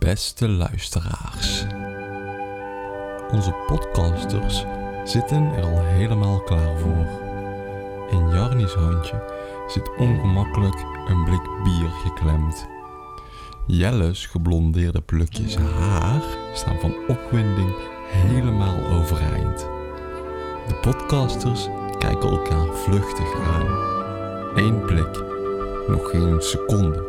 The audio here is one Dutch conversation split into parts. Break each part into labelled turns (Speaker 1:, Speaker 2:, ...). Speaker 1: Beste luisteraars, onze podcasters zitten er al helemaal klaar voor. In Jarni's handje zit ongemakkelijk een blik bier geklemd. Jelle's geblondeerde plukjes haar staan van opwinding helemaal overeind. De podcasters kijken elkaar vluchtig aan. Eén blik, nog geen seconde.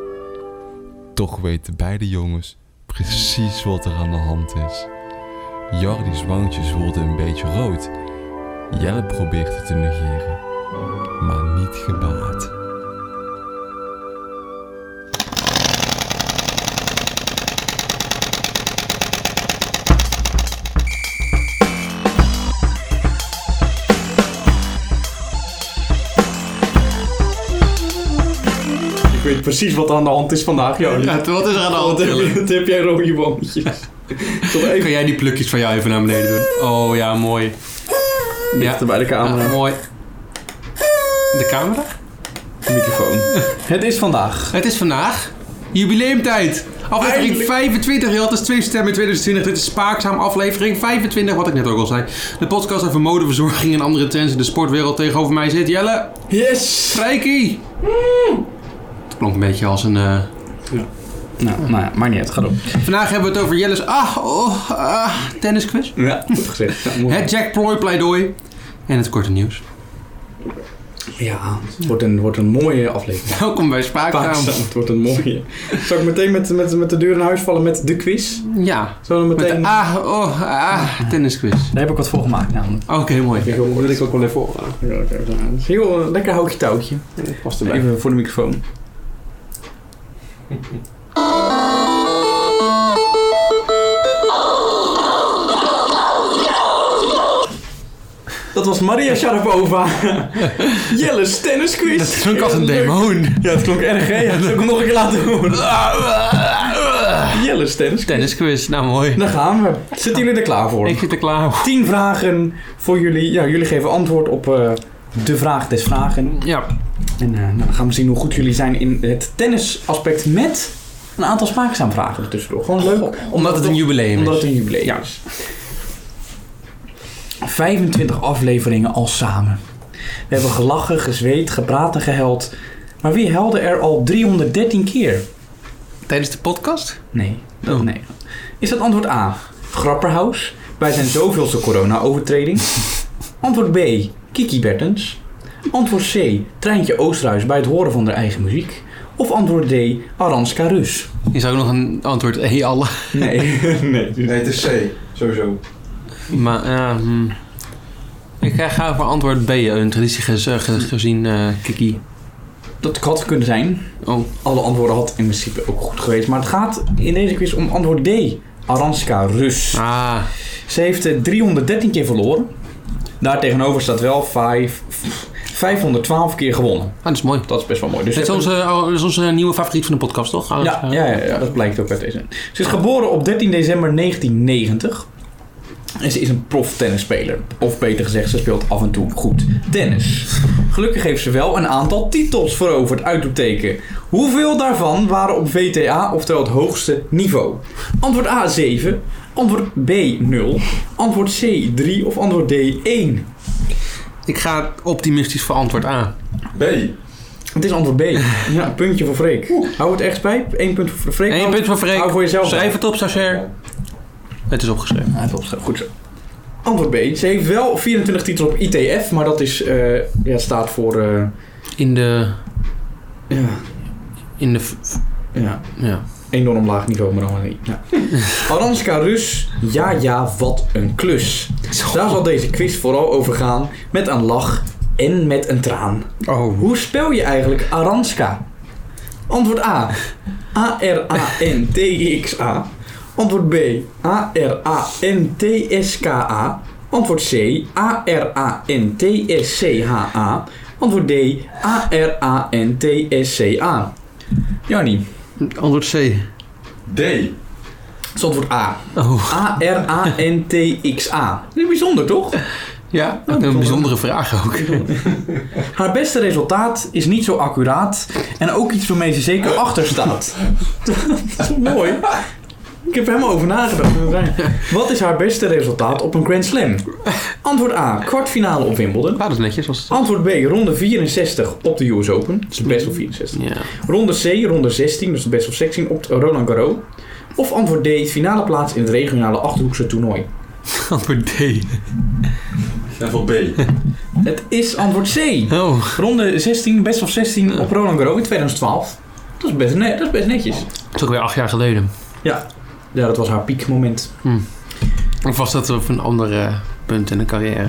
Speaker 1: Toch weten beide jongens precies wat er aan de hand is. Jardi's wangtjes worden een beetje rood. Jelle probeert het te negeren, maar niet gebaat.
Speaker 2: Ik weet precies wat er aan de hand is vandaag, Jolie.
Speaker 3: Ja, wat is er aan de hand?
Speaker 2: Wat heb, je,
Speaker 3: Willem?
Speaker 2: wat heb jij rode wangetjes? Tot even
Speaker 3: Kan jij die plukjes van jou even naar beneden doen? Oh ja, mooi. Ja,
Speaker 2: dichter bij de camera.
Speaker 3: ja, mooi. De camera?
Speaker 2: microfoon. Het is vandaag.
Speaker 3: Het is vandaag jubileumtijd. Aflevering
Speaker 2: Eindelijk.
Speaker 3: 25. Je had dus twee stemmen in 2020. Dit is spaakzaam aflevering 25, wat ik net ook al zei. De podcast over mode, verzorging en andere trends in de sportwereld. Tegenover mij zit Jelle
Speaker 2: Yes!
Speaker 3: Strijkie.
Speaker 2: Mm.
Speaker 3: Het klonk een beetje als een... eh,
Speaker 4: Nou, nou ja, maar niet uit, gaat op.
Speaker 3: Vandaag hebben we het over Jelle's... Ah, oh, ah, tennisquiz.
Speaker 2: Ja, goed gezegd. Ja, mooi.
Speaker 3: Het Jack Ploy pleidooi. En het korte nieuws.
Speaker 2: Ja, het wordt een, wordt een mooie aflevering.
Speaker 3: Welkom bij Spaakzaam.
Speaker 2: Paakzaam, het wordt een mooie. Zal ik meteen met, met, met de deur in huis vallen met de quiz?
Speaker 3: Ja.
Speaker 2: Zullen we
Speaker 3: Met de
Speaker 2: meteen...
Speaker 3: ah, oh, ah, tennisquiz.
Speaker 4: Daar heb ik wat voor gemaakt namelijk.
Speaker 3: Oké, mooi.
Speaker 2: Dat wil ik ook wel even horen. Ja, oké, ja. Het is Heel eh, lekker houtje touwtje. Past
Speaker 4: erbij.
Speaker 2: Even voor de microfoon. Dat was Maria Sharapova. Jelle's tennisquiz.
Speaker 3: Dat klonk als een
Speaker 2: Leuk.
Speaker 3: demon.
Speaker 2: Ja, het klonk erg, hè? Ja, dat zal ik hem nog een keer laten horen. Jelle's tennisquiz.
Speaker 3: Tennisquiz, nou mooi.
Speaker 2: Daar gaan we. Zitten jullie er klaar
Speaker 4: Nou.
Speaker 2: voor?
Speaker 3: Ik zit er klaar voor.
Speaker 2: Tien vragen voor jullie. Ja, jullie geven antwoord op eh,
Speaker 4: De vraag des vragen.
Speaker 3: Ja,
Speaker 4: En eh, nou, dan gaan we zien hoe goed jullie zijn in het tennisaspect met een aantal spaakzaam vragen er tussendoor. Gewoon leuk.
Speaker 3: omdat het een jubileum
Speaker 2: omdat
Speaker 3: is.
Speaker 2: het een jubileum
Speaker 4: Ja.
Speaker 2: is.
Speaker 4: 25 afleveringen al samen. We hebben gelachen, gezweet, gepraat en geheld. Maar wie helde er al 313 keer?
Speaker 3: Tijdens de podcast?
Speaker 4: Nee,
Speaker 3: Oh.
Speaker 4: nee. Is dat antwoord A? Grapperhaus. Wij zijn zoveelste corona-overtreding. Antwoord B. Kiki Bertens. Antwoord C. Treintje Oosterhuis bij het horen van haar eigen muziek. Of antwoord D. Aranska Rus.
Speaker 3: Je zou ook nog een antwoord E alle.
Speaker 4: Nee.
Speaker 2: nee, dus-
Speaker 5: Nee, het is C, sowieso.
Speaker 3: Maar, ja, hm. Ik ga- ga voor antwoord B, eh, een traditie gez- ge- gezien eh, Kiki.
Speaker 4: Dat had kunnen zijn.
Speaker 3: Oh,
Speaker 4: Alle antwoorden had in principe ook goed geweest. Maar het gaat in deze quiz om antwoord D. Aranska Rus.
Speaker 3: ah.
Speaker 4: Ze heeft eh, 313 keer verloren. Daartegenover staat wel 5, 512 keer gewonnen.
Speaker 3: ah, dat is mooi.
Speaker 4: Dat is best wel mooi. Dus
Speaker 3: Dit is
Speaker 4: ze hebben-
Speaker 3: onze, oh, dit is onze nieuwe favoriet van de podcast, toch? Ah,
Speaker 4: Ja,
Speaker 3: eh,
Speaker 4: ja, ja, ja, dat blijkt ook uit deze. Ze is geboren op 13 december 1990. En ze is een prof-tennisspeler. Of beter gezegd, ze speelt af en toe goed tennis. Gelukkig heeft ze wel een aantal titels veroverd, uitroepteken. Hoeveel daarvan waren op VTA, oftewel het hoogste niveau? Antwoord A 7, antwoord B 0, antwoord C 3 of antwoord D 1?
Speaker 3: Ik ga optimistisch voor antwoord A.
Speaker 5: B.
Speaker 4: Het is antwoord B. Ja, een puntje voor Freek. Hou het echt bij. 1 punt voor Freek.
Speaker 3: Eén
Speaker 4: Hou-
Speaker 3: punt voor Freek.
Speaker 4: Hou voor jezelf.
Speaker 3: Schrijf het op, Sacher. Het is opgeschreven.
Speaker 4: Ja, het opschrijven. Goed zo.
Speaker 2: Antwoord B.
Speaker 4: Ze heeft wel 24 titels op ITF, maar dat is, eh, ja, staat voor. eh,
Speaker 3: In de...
Speaker 4: ja,
Speaker 3: In de... v-
Speaker 4: ja,
Speaker 3: Ja.
Speaker 4: enorm laag niveau, maar dan maar niet. Ja. Aranska Rus, ja, ja, wat een klus. Daar zal deze quiz vooral over gaan, met een lach en met een traan.
Speaker 3: Oh.
Speaker 4: Hoe spel je eigenlijk Aranska? Antwoord A. A-R-A-N-T-I-X-A. Antwoord B. A-R-A-N-T-S-K-A. Antwoord C. A-R-A-N-T-S-C-H-A. Antwoord D. A-R-A-N-T-S-C-A. Jannie.
Speaker 3: Antwoord C.
Speaker 5: D.
Speaker 4: Dat is antwoord A.
Speaker 3: Oh.
Speaker 4: A-R-A-N-T-X-A. Dat is bijzonder, toch?
Speaker 3: Ja, een bijzondere vraag ook.
Speaker 4: Haar beste resultaat is niet zo accuraat en ook iets waarmee ze zeker achter staat. Dat is mooi. Ik heb er helemaal over nagedacht. Wat is haar beste resultaat op een Grand Slam? Antwoord A. Kwartfinale op Wimbledon.
Speaker 3: Ja, dat is netjes. Was het.
Speaker 4: Antwoord B. Ronde 64 op de US Open. Dat is de best of 64.
Speaker 6: Ja.
Speaker 4: Ronde C. Ronde 16, dus de best of 16 op de Roland Garros. Of antwoord D. Finale plaats in het regionale Achterhoekse toernooi.
Speaker 3: Antwoord D.
Speaker 1: En voor B.
Speaker 4: Het is antwoord C.
Speaker 3: Oh.
Speaker 4: Ronde 16, best of 16 op Roland Garros in 2012. Dat is best, ne- dat is best netjes.
Speaker 3: Dat is ook weer acht jaar geleden.
Speaker 4: Ja, dat was haar piekmoment.
Speaker 3: Of was dat op een ander eh, punt in de carrière?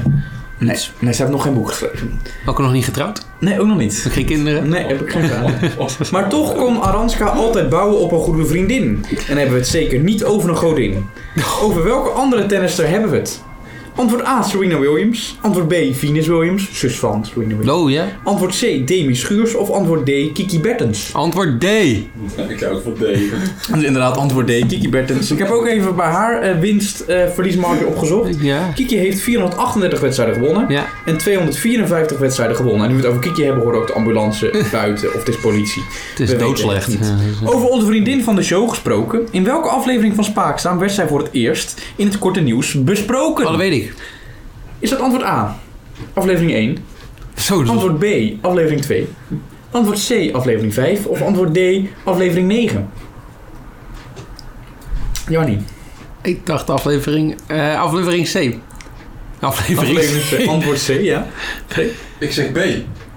Speaker 4: Nee, nee, ze heeft nog geen boek geschreven.
Speaker 3: Ook nog niet getrouwd?
Speaker 4: Nee, ook nog niet.
Speaker 3: Geen kinderen?
Speaker 4: Nee, heb ik geen vraag. Maar toch kon Aranska altijd bouwen op een goede vriendin. En hebben we het zeker niet over een godin. Over welke andere tennister hebben we het? Antwoord A, Serena Williams. Antwoord B, Venus Williams, zus van Serena Williams.
Speaker 3: Oh ja.
Speaker 4: Antwoord C, Demi Schuurs. Of antwoord D, Kiki Bertens.
Speaker 3: Antwoord D.
Speaker 1: Ik ga ook voor D.
Speaker 4: Dus inderdaad, antwoord D, Kiki Bertens. Ik heb ook even bij haar eh, winst eh verliesmarge opgezocht.
Speaker 3: Ja.
Speaker 4: Kiki heeft 438 wedstrijden gewonnen.
Speaker 3: Ja.
Speaker 4: En 254 wedstrijden gewonnen. En nu we het over Kiki hebben, horen ook de ambulance buiten. Of het is politie.
Speaker 3: Het is
Speaker 4: We weten
Speaker 3: doodslecht.
Speaker 4: het
Speaker 3: Ja, dus-
Speaker 4: Over onze vriendin van de show gesproken. In welke aflevering van Spaakzaam werd zij voor het eerst in het korte nieuws besproken?
Speaker 3: Oh, dat weet ik.
Speaker 4: Is dat antwoord A? Aflevering 1.
Speaker 3: Zo, dus-
Speaker 4: Antwoord B, aflevering 2. Antwoord C, aflevering 5. Of antwoord D, aflevering 9. Jannie.
Speaker 3: ik dacht aflevering, eh, aflevering C. Aflevering,
Speaker 4: Aflevering C. Antwoord C, ja.
Speaker 1: Ik zeg B.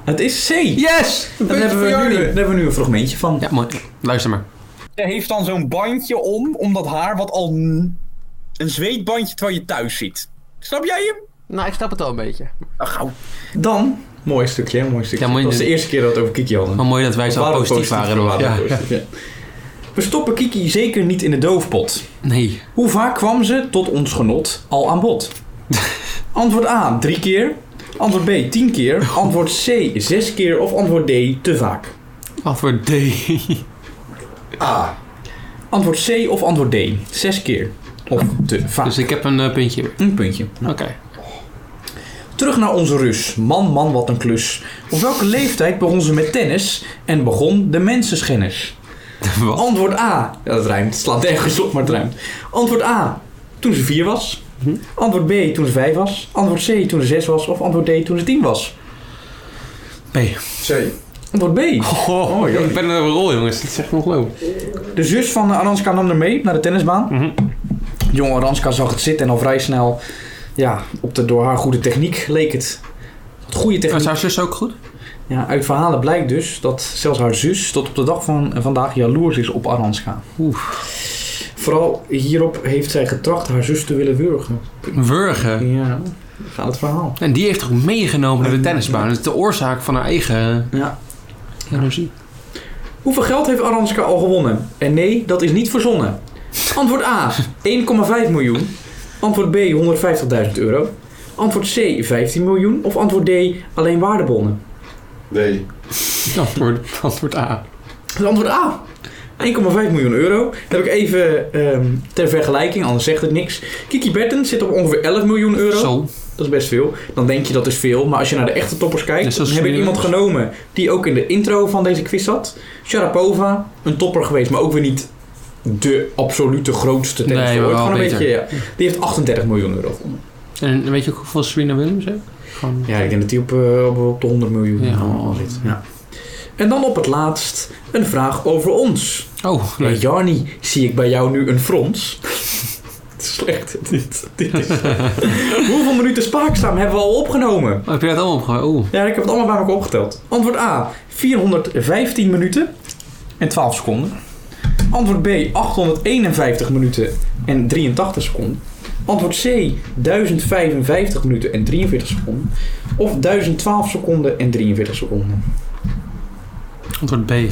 Speaker 4: Het is C.
Speaker 3: Yes!
Speaker 4: Daar hebben, we nu, daar hebben we nu een fragmentje van.
Speaker 3: Ja, mooi. Luister maar.
Speaker 4: Zij heeft dan zo'n bandje om, omdat haar wat al n- een zweetbandje terwijl je thuis zit. Snap jij hem?
Speaker 6: Nou, ik snap het al een beetje.
Speaker 4: Ach, gauw. Dan, mooi stukje, hè, mooi stukje.
Speaker 3: Ja, mooi
Speaker 4: dat was de
Speaker 3: dit.
Speaker 4: eerste keer dat we het over Kiki hadden.
Speaker 3: Wat mooi dat wij
Speaker 4: We
Speaker 3: zo
Speaker 4: waren
Speaker 3: positief, waren.
Speaker 4: we
Speaker 3: nog.
Speaker 4: waren
Speaker 3: Ja.
Speaker 4: positief, ja. We stoppen Kiki zeker niet in de doofpot.
Speaker 3: Nee.
Speaker 4: Hoe vaak kwam ze tot ons genot al aan bod? Antwoord A, drie keer. Antwoord B, tien keer. Antwoord C, zes keer. Of antwoord D, te vaak.
Speaker 3: Antwoord D.
Speaker 1: A.
Speaker 4: Antwoord C of antwoord D, zes keer. Of te vaak.
Speaker 3: Dus ik heb een eh, puntje weer.
Speaker 4: Een puntje.
Speaker 3: Oké.
Speaker 4: Terug naar onze Rus. Man, man, wat een klus. Op welke leeftijd begon ze met tennis en begon de mensenschennis?
Speaker 3: Wat?
Speaker 4: Antwoord A. Ja, dat rijmt. Het slaat ergens op, maar het rijmt. Antwoord A. Toen ze 4 was.
Speaker 3: Mhm.
Speaker 4: Antwoord B. Toen ze 5 was. Antwoord C. Toen ze 6 was. Of antwoord D. Toen ze 10 was.
Speaker 1: C.
Speaker 4: Antwoord B. joh.
Speaker 3: Oh, ik ben er een rol, jongens. Dat is echt ongelooflijk.
Speaker 4: De zus van eh, Aranska nam haar mee naar de tennisbaan.
Speaker 3: Mhm.
Speaker 4: Jong Aranska zag het zitten en al vrij snel, ja, op de door haar goede techniek leek het. Wat goede
Speaker 3: Was
Speaker 4: techniek.
Speaker 3: haar zus ook goed?
Speaker 4: Ja, uit verhalen blijkt dus dat zelfs haar zus tot op de dag van eh, vandaag jaloers is op Aranska. Vooral hierop heeft zij getracht haar zus te willen wurgen.
Speaker 3: Wurgen.
Speaker 4: Ja, gaat het verhaal.
Speaker 3: En die heeft toch meegenomen naar de tennisbaan? Dat is de oorzaak van haar eigen eh,
Speaker 4: Ja.
Speaker 3: jaloezie.
Speaker 4: Hoeveel geld heeft Aranska al gewonnen? En nee, dat is niet verzonnen. Antwoord A, 1,5 miljoen. Antwoord B, 150.000 euro. Antwoord C, 15 miljoen. Of antwoord D, alleen waardebonnen.
Speaker 1: D.
Speaker 3: Antwoord, antwoord A.
Speaker 4: Dus antwoord A. 1,5 miljoen euro. Dat heb ik even ehm, ter vergelijking, anders zegt het niks. Kiki Bertens zit op ongeveer 11 miljoen euro.
Speaker 3: Zo.
Speaker 4: Dat is best veel. Dan denk je dat is veel. Maar als je naar de echte toppers
Speaker 3: Net
Speaker 4: kijkt, dan
Speaker 3: zoals
Speaker 4: heb ik
Speaker 3: Serena
Speaker 4: iemand genomen die ook in de intro van deze quiz zat. Sharapova, een topper geweest, maar ook weer niet de absolute grootste tennis
Speaker 3: Nee, maar wel
Speaker 4: Gewoon een
Speaker 3: beter.
Speaker 4: beetje, ja. Die heeft 38 miljoen euro gewonnen.
Speaker 3: En weet je ook hoeveel Serena Williams heeft? Gewoon...
Speaker 4: Ja, ik denk dat die op, eh, op, op de 100 miljoen
Speaker 3: Ja.
Speaker 4: al zit. Ja. En dan op het laatst een vraag over ons.
Speaker 3: Oh,
Speaker 4: Hey,
Speaker 3: leuk.
Speaker 4: Jarni, zie ik bij jou nu een frons? Het is Slecht, dit, dit is slecht. Hoeveel minuten spaakzaam hebben we al opgenomen?
Speaker 3: Oh, heb je dat allemaal opgehouden? Oeh.
Speaker 4: Ja, ik heb het allemaal bij elkaar opgeteld. Antwoord A, 415 minuten en 12 seconden. Antwoord B, 851 minuten en 83 seconden. Antwoord C, 1055 minuten en 43 seconden. Of 1012 seconden en 43 seconden.
Speaker 3: Antwoord B. Oh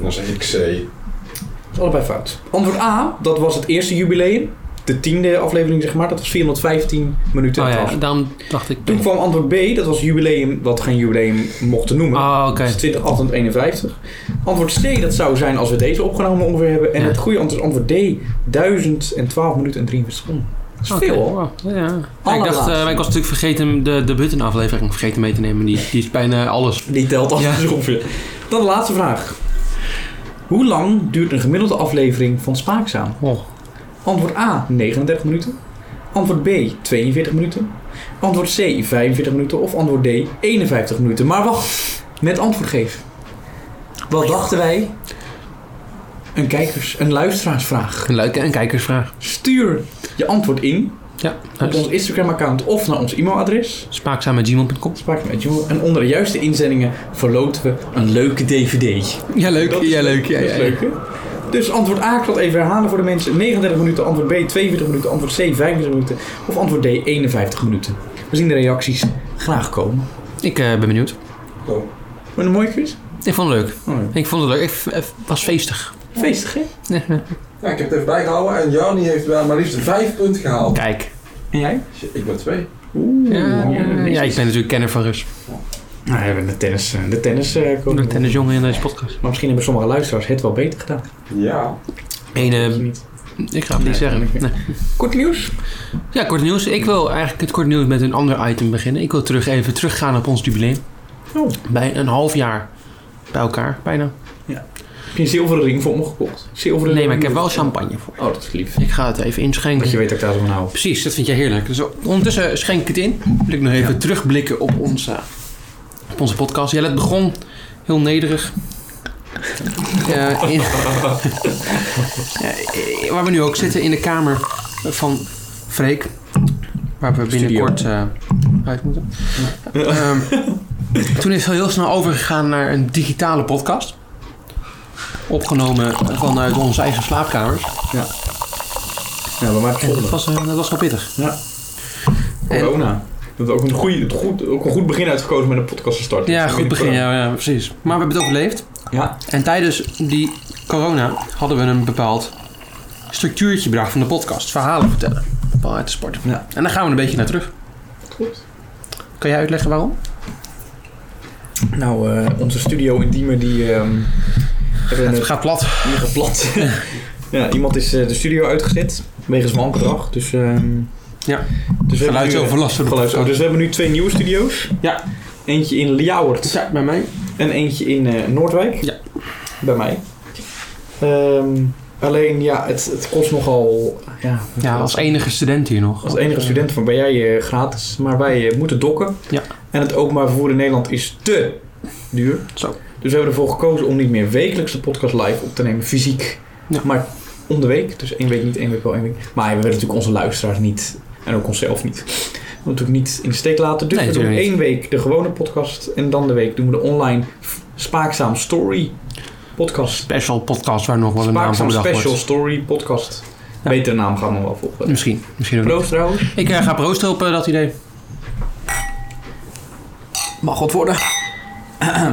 Speaker 1: Dan zeg ik C.
Speaker 4: Dat is allebei fout. Antwoord A, dat was het eerste jubileum. De tiende aflevering, zeg maar. Dat was 415 minuten.
Speaker 3: Oh
Speaker 4: en
Speaker 3: ja,
Speaker 4: 12.
Speaker 3: daarom dacht ik B.
Speaker 4: Toen kwam antwoord B, dat was jubileum wat geen jubileum mochten noemen.
Speaker 3: Ah, oké.
Speaker 4: Dat is 2051. Antwoord C, dat zou zijn als we deze opgenomen ongeveer hebben. En
Speaker 3: Ja.
Speaker 4: het goede antwoord is antwoord D, 1012 minuten en 43 seconden. Dat is
Speaker 3: Oké,
Speaker 4: veel hoor.
Speaker 3: wow, Ja. Ja, ik
Speaker 4: Allerlaatste.
Speaker 3: dacht, eh, maar ik was natuurlijk vergeten de, de Button-aflevering vergeten mee te nemen. Die, die is bijna alles.
Speaker 4: Die telt als
Speaker 3: Ja.
Speaker 4: ongeveer. Dan de laatste vraag. Hoe lang duurt een gemiddelde aflevering van Spaakzaam?
Speaker 3: Oh.
Speaker 4: Antwoord A 39 minuten. Antwoord B 42 minuten. Antwoord C 45 minuten. Of antwoord D 51 minuten. Maar wacht, met antwoord geef. Wat dachten wij? Een kijkers, een luisteraarsvraag.
Speaker 3: Een leuke en kijkersvraag.
Speaker 4: Stuur je antwoord in
Speaker 3: Ja, dus
Speaker 4: op ons Instagram-account of naar ons e-mailadres.
Speaker 3: spaakzaam.gmail.com.
Speaker 4: Spraak met jou. En onder de juiste inzendingen verloten we een leuke DVD.
Speaker 3: Ja, leuk.
Speaker 4: Dat is
Speaker 3: ja, leuk. Ja,
Speaker 4: Dat is
Speaker 3: ja,
Speaker 4: leuk, hè? Dus antwoord A, ik zal het even herhalen voor de mensen. 39 minuten, antwoord B, 42 minuten, antwoord C, 45 minuten. Of antwoord D, 51 minuten. We zien de reacties graag komen.
Speaker 3: Ik eh, ben benieuwd.
Speaker 4: Vond je een mooie quiz?
Speaker 3: Ik vond het leuk.
Speaker 4: Oh, ja.
Speaker 3: Ik vond het leuk. Ik f- eh, was feestig.
Speaker 4: Feestig, hè?
Speaker 2: Ja, ik heb het even bijgehouden en Jarni heeft wel maar liefst vijf punten gehaald.
Speaker 3: Oh, Kijk.
Speaker 4: En jij?
Speaker 2: Shit, Ik ben twee.
Speaker 4: Oeh.
Speaker 3: Ja,
Speaker 4: netjes.
Speaker 3: ja, ik ben natuurlijk kenner van Rus.
Speaker 4: Nou, we hebben de tennis, eh, de tennis eh,
Speaker 3: Ik
Speaker 4: komen.
Speaker 3: ben tennis jongen in deze podcast.
Speaker 4: Maar misschien hebben sommige luisteraars het wel beter gedaan.
Speaker 2: Ja.
Speaker 3: Eén,
Speaker 4: Weet
Speaker 3: eh,
Speaker 4: je niet.
Speaker 3: ik ga het
Speaker 4: Nee,
Speaker 3: niet zeggen.
Speaker 4: nee.
Speaker 3: Nee.
Speaker 4: Kort nieuws.
Speaker 3: Ja, kort nieuws. Ik wil eigenlijk het kort nieuws met een ander item beginnen. Ik wil terug even teruggaan op ons jubileum.
Speaker 4: Oh.
Speaker 3: Bij een half jaar bij elkaar, bijna.
Speaker 4: Heb je een zilveren ring voor me gekocht? Zilveren
Speaker 3: Nee, maar ik
Speaker 4: ring.
Speaker 3: heb wel champagne voor.
Speaker 4: Oh, dat is lief.
Speaker 3: Ik ga het even inschenken.
Speaker 4: Dat je weet dat ik daar zo van hou.
Speaker 3: Precies, dat vind jij heerlijk. Dus ondertussen schenk ik het in. Wil ik nog even terugblikken op, ons, eh, op onze podcast. Jij het begon heel nederig. Eh, in- Eh, waar we nu ook zitten in de kamer van Freek. Waar we
Speaker 4: Studio.
Speaker 3: binnenkort eh, uit moeten. Ehm, toen is het heel snel overgegaan naar een digitale podcast. Opgenomen vanuit onze eigen slaapkamers.
Speaker 4: Ja, we maken
Speaker 3: En dat
Speaker 4: volgende.
Speaker 3: was, eh, dat was wel pittig. En-
Speaker 4: Corona. Dat is ook een, goeie, het goed, ook een goed begin uitgekozen met een podcast te starten.
Speaker 3: Ja,
Speaker 4: Dus
Speaker 3: goed
Speaker 4: ik
Speaker 3: begin.
Speaker 4: ben-
Speaker 3: Ja, ja, precies. Maar we hebben het overleefd.
Speaker 4: Ja.
Speaker 3: En tijdens die corona hadden we een bepaald structuurtje bedacht van de podcast. Verhalen vertellen. Vooral uit de sport.
Speaker 4: Ja.
Speaker 3: En daar gaan we een beetje naar terug.
Speaker 4: Klopt.
Speaker 3: Kan jij uitleggen waarom?
Speaker 4: Nou, eh, onze studio in Diemen die ehm hebben
Speaker 3: Het
Speaker 4: het
Speaker 3: gaat plat.
Speaker 4: hier geplant. ja, iemand is eh, de studio uitgezet wegens wangedrag. Dus, ehm
Speaker 3: Ja.
Speaker 4: Dus we hebben nu, eh,
Speaker 3: Geluidsoverlast voor
Speaker 4: geluidsover-
Speaker 3: de podcast.
Speaker 4: Dus we hebben nu twee nieuwe studio's.
Speaker 3: Ja.
Speaker 4: Eentje in Ljouwert
Speaker 3: Ja, bij mij.
Speaker 4: en eentje in eh, Noordwijk.
Speaker 3: Ja.
Speaker 4: Bij mij. Ehm, alleen ja, het, het kost nogal. Ja,
Speaker 3: Ja, als enige student hier nog.
Speaker 4: Als enige student van ben jij eh, gratis, maar wij eh, moeten dokken.
Speaker 3: Ja.
Speaker 4: En het openbaar vervoer in Nederland is te duur.
Speaker 3: Zo.
Speaker 4: Dus we hebben ervoor gekozen om niet meer wekelijks de podcast live op te nemen, fysiek.
Speaker 3: Ja.
Speaker 4: Maar om de week, dus één week niet, één week wel, één week. Maar we willen natuurlijk onze luisteraars niet en ook onszelf niet. We moeten natuurlijk niet in de steek laten. Dus
Speaker 3: Nee,
Speaker 4: we doen
Speaker 3: natuurlijk
Speaker 4: één week de gewone podcast en dan de week doen we de online f- Spaakzaam Story podcast.
Speaker 3: Special podcast waar nog wel een naam voor
Speaker 4: Spaakzaam
Speaker 3: bedacht
Speaker 4: Special
Speaker 3: wordt.
Speaker 4: Story podcast.
Speaker 3: Ja.
Speaker 4: Betere naam gaan we wel volgen.
Speaker 3: Misschien. Misschien ook niet.
Speaker 4: Proost trouwens.
Speaker 3: Ik eh, ga proosten op eh, dat idee.
Speaker 4: Mag wat worden.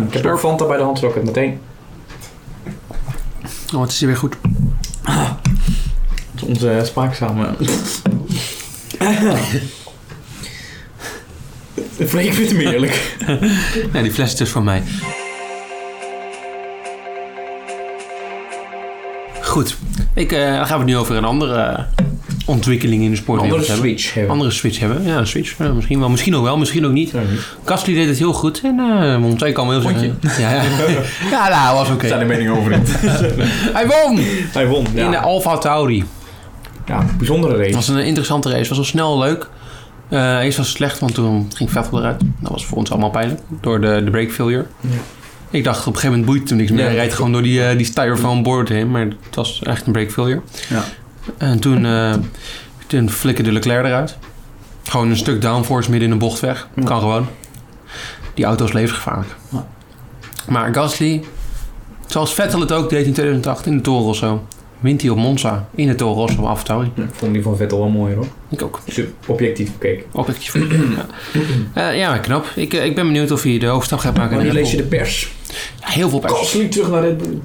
Speaker 4: Ik heb er Fanta bij de hand, zodat ik het meteen.
Speaker 3: Oh, het is hier weer goed.
Speaker 4: Dat is onze spaakzame. Freek, ik vind hem eerlijk.
Speaker 3: Ja, die fles is dus van mij. Goed. Ik eh, dan gaan we het nu over een andere eh, ontwikkeling in de sport
Speaker 4: Andere
Speaker 3: hebben.
Speaker 4: switch hebben.
Speaker 3: Andere switch hebben. Ja, een switch. Ja, misschien wel, misschien ook wel, misschien ook niet. Kastli deed het heel goed en eh Montaigne kan wel heel
Speaker 4: Vond je?
Speaker 3: zeggen. Ja, ja. ja, nou, was oké.
Speaker 4: de meningen over in.
Speaker 3: Hij won
Speaker 4: Hij won, ja.
Speaker 3: in de Ah. Alfa Tauri.
Speaker 4: Ja, bijzondere
Speaker 3: Het
Speaker 4: race.
Speaker 3: was een interessante race. Het was al snel leuk. Eh eerst was het slecht, want toen ging Vettel eruit. Dat was voor ons allemaal pijnlijk. Door de, de brake failure.
Speaker 4: Ja.
Speaker 3: Ik dacht op een gegeven moment boeit het hem niks meer.
Speaker 4: Ja,
Speaker 3: Hij
Speaker 4: dat
Speaker 3: rijdt gewoon door die, eh, die styrofoam board heen. Maar het was echt een brake failure.
Speaker 4: Ja.
Speaker 3: En toen, eh toen flikkerde Leclerc eruit. Gewoon een stuk downforce midden in een bocht weg.
Speaker 4: Ja.
Speaker 3: Kan gewoon. Die auto is levensgevaarlijk.
Speaker 4: Ja.
Speaker 3: Maar Gasly, zoals Vettel het ook deed in 2008 in de Toro Rosso... wint hij op Monza in de Toro Rosso af Tauri.
Speaker 4: Ja, ik vond die van Vettel wel mooier hoor.
Speaker 3: Ik ook.
Speaker 4: Als je objectief bekeken.
Speaker 3: Objectief. ja. Eh, ja, maar knap. Ik, eh, ik ben benieuwd of hij de hoofdstap gaat maken. in
Speaker 4: Wanneer
Speaker 3: Red
Speaker 4: Oh, lees je
Speaker 3: Bull.
Speaker 4: de pers?
Speaker 3: Heel veel pers.
Speaker 4: Gasly terug naar Red Bull.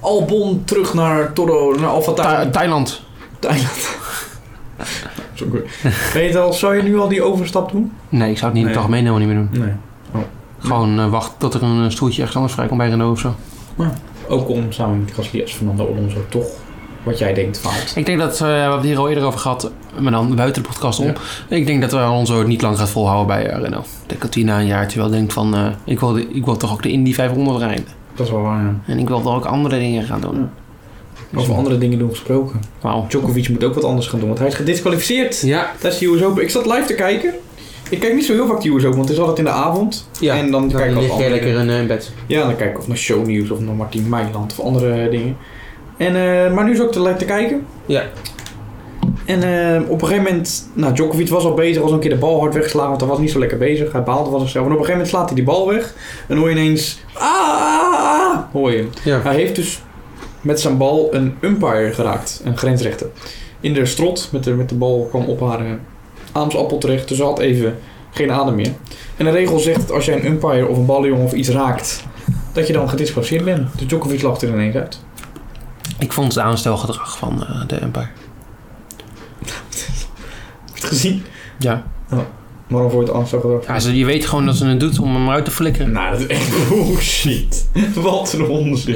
Speaker 4: Albon terug naar Toro, naar Alfa
Speaker 3: Tha-
Speaker 4: Tauri.
Speaker 3: Thailand. Ah,
Speaker 4: Thailand. Zo goed. Weet je het al, zou je nu al die overstap doen?
Speaker 3: Nee, ik zou het niet in het
Speaker 4: Nee.
Speaker 3: algemeen helemaal niet meer doen.
Speaker 4: Nee.
Speaker 3: Gewoon eh, wachten tot er een eh, stoeltje ergens anders vrijkomt bij Renault of zo.
Speaker 4: Ook om samen met Gasly als Fernando Alonso toch wat jij denkt faalt.
Speaker 3: Ik denk dat, eh, we hebben het hier al eerder over gehad, maar dan buiten de podcast om.
Speaker 4: Ja.
Speaker 3: Ik denk dat Alonso het niet lang gaat volhouden bij eh, Renault. Ik denk dat hij na een jaartje wel denkt van, eh, ik, wil de- ik wil toch ook de Indy 500 rijden.
Speaker 4: Dat is wel waar, ja.
Speaker 3: En ik wilde ook andere dingen gaan doen. Dus
Speaker 4: Over andere dingen doen gesproken.
Speaker 3: Wauw.
Speaker 4: Djokovic moet ook wat anders gaan doen, want hij is gedisqualificeerd.
Speaker 3: Ja,
Speaker 4: Dat is de US Open. Ik zat live te kijken. Ik kijk niet zo heel vaak de US Open, want het is altijd in de avond.
Speaker 3: ja.
Speaker 4: en dan, kijk ik
Speaker 3: lig
Speaker 4: wat
Speaker 3: jij
Speaker 4: andere
Speaker 3: lekker in, eh, in bed.
Speaker 4: Ja, dan kijk ik of naar shownieuws of naar Martin Meiland of andere eh, dingen. En, eh, maar nu zat ik te, te kijken.
Speaker 3: Ja.
Speaker 4: En eh, op een gegeven moment, nou Djokovic was al bezig, was al een keer de bal hard weggeslagen, want hij was niet zo lekker bezig. Hij baalde van zichzelf. En op een gegeven moment slaat hij die bal weg en hoor je ineens, ah, ah, ah, hoor je hem.
Speaker 3: Ja.
Speaker 4: Hij heeft dus met zijn bal een umpire geraakt, een grensrechter. In de strot, met de, met de bal kwam op haar eh, aamsappel terecht, dus ze had even geen adem meer. En de regel zegt dat als jij een umpire of een ballenjongen of iets raakt, dat je dan gedisqualificeerd bent. Dus Djokovic lag er ineens uit.
Speaker 3: Ik vond het aanstelgedrag van eh, de Empire.
Speaker 4: Heb je het gezien?
Speaker 3: Ja.
Speaker 4: Waarom voor het Amsterdam?
Speaker 3: ja ze, je weet gewoon dat ze het doet om hem uit te flikkeren.
Speaker 4: Nou, dat is echt bullshit. Wat een onzin.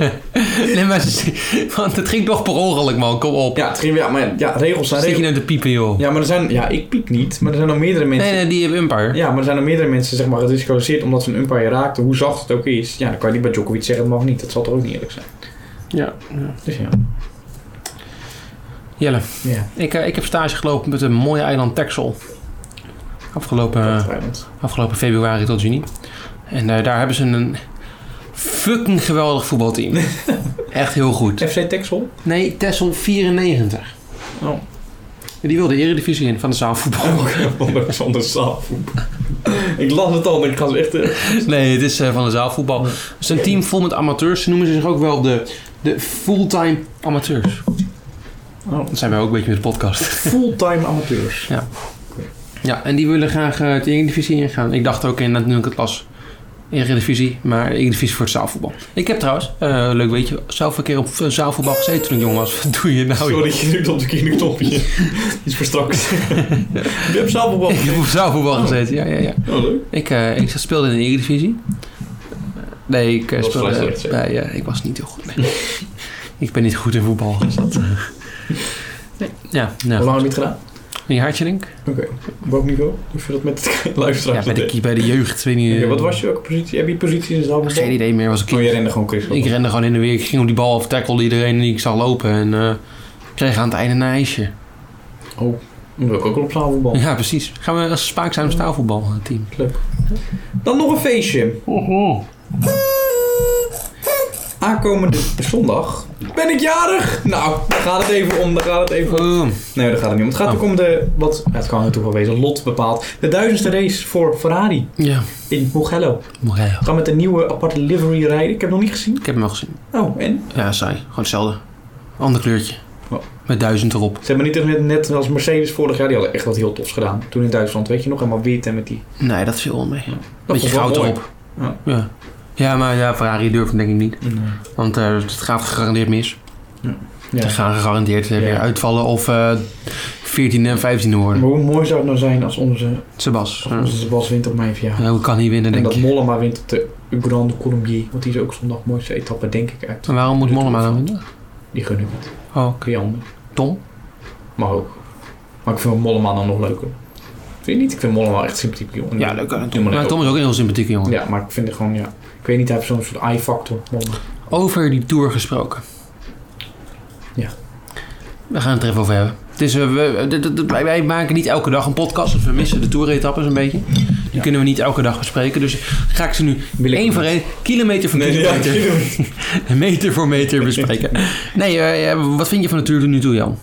Speaker 3: Nee, maar ze- want het ging toch per ongeluk, man. Kom op.
Speaker 4: Ja, het ging, ja, maar ja, regels zijn
Speaker 3: Zit je
Speaker 4: regels.
Speaker 3: nou te piepen, joh?
Speaker 4: Ja, maar er zijn... Ja, ik piep niet, maar er zijn nog meerdere mensen...
Speaker 3: Nee, nee, die hebben Empire.
Speaker 4: Ja, maar er zijn nog meerdere mensen, zeg maar, gedisqualificeerd omdat ze een umpire raakten. Hoe zacht het ook is. Ja, dan kan je niet bij Djokovic zeggen, het mag niet. Dat zal toch ook niet eerlijk zijn.
Speaker 3: Ja.
Speaker 4: Dus ja.
Speaker 3: Jelle,
Speaker 4: Ja,
Speaker 3: ik, eh, ik heb stage gelopen met een mooie eiland Texel. Afgelopen... eh,
Speaker 4: vrijwillig.
Speaker 3: afgelopen februari tot juni. En eh, daar hebben ze een fucking geweldig voetbalteam. Echt heel goed.
Speaker 4: FC Texel?
Speaker 3: Nee, Tessel 94.
Speaker 4: Oh.
Speaker 3: Die wil de eredivisie in van de zaalvoetbal.
Speaker 4: Zonder, zonder zaalvoep. ik las het al en ik ga ze echt... eh,
Speaker 3: Nee, het is eh, van de zaalvoetbal. Het is een team vol met amateurs. Ze noemen zich ook wel de, de fulltime amateurs.
Speaker 4: Oh.
Speaker 3: Dat zijn wij ook een beetje met de podcast.
Speaker 4: Fulltime amateurs.
Speaker 3: Ja, en die willen graag eh, de eredivisie ingaan. Ik dacht ook in, dat nu ik het las, eredivisie, maar eredivisie voor het zaalvoetbal. Ik heb trouwens, eh, leuk weet je, zelf een keer op eh, zaalvoetbal gezeten toen ik jong was. Wat doe je nou? joh?
Speaker 4: Sorry, je drukt op de kinderknopje. Iets voor straks. Je hebt zaalvoetbal.
Speaker 3: Ik heb op zaalvoetbal gezeten, ja, ja, ja.
Speaker 4: Oh, leuk.
Speaker 3: Ik, eh, ik speelde in de Eredivisie. Nee, ik
Speaker 4: Dat
Speaker 3: eh,
Speaker 4: was
Speaker 3: speelde...
Speaker 4: vrij slecht, zeg.
Speaker 3: nee, ja, ik was niet heel goed. nee. ik ben niet goed in voetbal. Dus dat, eh. Ja,
Speaker 4: Hoe
Speaker 3: nou,
Speaker 4: lang heb je het gedaan?
Speaker 3: een jaartje denk ik.
Speaker 4: Oké. Op welk niveau? Hoef je dat met de luisteraars
Speaker 3: Ja, bij
Speaker 4: te
Speaker 3: de,
Speaker 4: delen?
Speaker 3: bij de jeugd, weet niet...
Speaker 4: Oké,
Speaker 3: eh,
Speaker 4: Wat was je welke positie? Heb je positie in de zaalvoetbal?
Speaker 3: Geen idee meer, was ik
Speaker 4: Oh, je rende gewoon Chris.
Speaker 3: Ik rende gewoon in de weer. Ik ging op die bal af, tackelde iedereen die ik zag lopen. En eh, kreeg aan het einde een ijsje.
Speaker 4: Dan wil ik ook wel op zaalvoetbal.
Speaker 3: Ja, precies. Gaan we als spaakzaam eh, staalvoetbalteam.
Speaker 4: Dan nog een feestje. Aankomende zondag ben ik jarig. Nou, daar gaat het even om. Daar gaat het even om.
Speaker 3: Boom.
Speaker 4: Nee, daar gaat het niet om. Het gaat
Speaker 3: Oh.
Speaker 4: ook om de, wat, het kan natuurlijk wel wezen, lot bepaalt. De duizendste race voor Ferrari
Speaker 3: Ja,
Speaker 4: in Mugello.
Speaker 3: mooi. ja.
Speaker 4: We gaan met een nieuwe aparte livery rijden. Ik heb het nog niet gezien.
Speaker 3: Ik heb hem al gezien.
Speaker 4: Oh, en?
Speaker 3: Ja, saai. Gewoon hetzelfde. Ander kleurtje.
Speaker 4: Oh.
Speaker 3: Met duizend erop.
Speaker 4: Ze hebben niet echt net, net als Mercedes vorig jaar, die hadden echt wat heel tofs gedaan. Toen in Duitsland, weet je nog, helemaal wit en met die...
Speaker 3: Nee, dat viel wel mee.
Speaker 4: Ja.
Speaker 3: Beetje
Speaker 4: vond ik wel
Speaker 3: goud
Speaker 4: mooi.
Speaker 3: erop. Ja. ja, maar ja, Ferrari durft hem denk ik niet. Want eh, het gaat gegarandeerd mis.
Speaker 4: Mm. Ja.
Speaker 3: Er gaan gegarandeerd eh,
Speaker 4: Ja.
Speaker 3: weer uitvallen of eh 14 en 15
Speaker 4: Maar
Speaker 3: worden.
Speaker 4: hoe mooi zou het nou zijn als onze,
Speaker 3: Sebas.
Speaker 4: als
Speaker 3: eh,
Speaker 4: onze Bas wint op mijn verjaardag.
Speaker 3: ja, hoe kan hij winnen,
Speaker 4: en
Speaker 3: denk
Speaker 4: dat
Speaker 3: ik.
Speaker 4: Mollema wint op de Grande Colombier. Want die is ook zondag mooiste etappe, denk ik, uit.
Speaker 3: En waarom moet Mollema dan winnen?
Speaker 4: Die gun ik niet.
Speaker 3: Oh, oké.
Speaker 4: Kriander.
Speaker 3: Tom?
Speaker 4: Mag ook. Maar ik vind Mollema dan nog leuker. Vind je niet? Ik vind Mollema echt sympathiek, jongen.
Speaker 3: Ja, leuk.
Speaker 4: Doe
Speaker 3: Tom,
Speaker 4: maar
Speaker 3: ja,
Speaker 4: leuk.
Speaker 3: Tom is ook een heel sympathieke jongen.
Speaker 4: Ja, maar ik vind het gewoon, ja... Ik weet niet, hij heeft zo'n soort eye-factor. Mollema.
Speaker 3: Over die tour gesproken.
Speaker 4: Ja.
Speaker 3: We gaan het er even over hebben. Het is, eh, we, d- d- d- wij- wij maken niet elke dag een podcast, dus we missen de toeretappes een beetje. Die
Speaker 4: Ja.
Speaker 3: kunnen we niet elke dag bespreken. Dus ga ik ze nu
Speaker 4: Wil ik
Speaker 3: één
Speaker 4: ook
Speaker 3: voor
Speaker 4: niet.
Speaker 3: één, kilometer voor
Speaker 4: Nee, ja, ik
Speaker 3: kilometer,
Speaker 4: vind hem-
Speaker 3: meter voor meter bespreken. nee, eh, eh, wat vind je van de tour tot nu toe, Jan?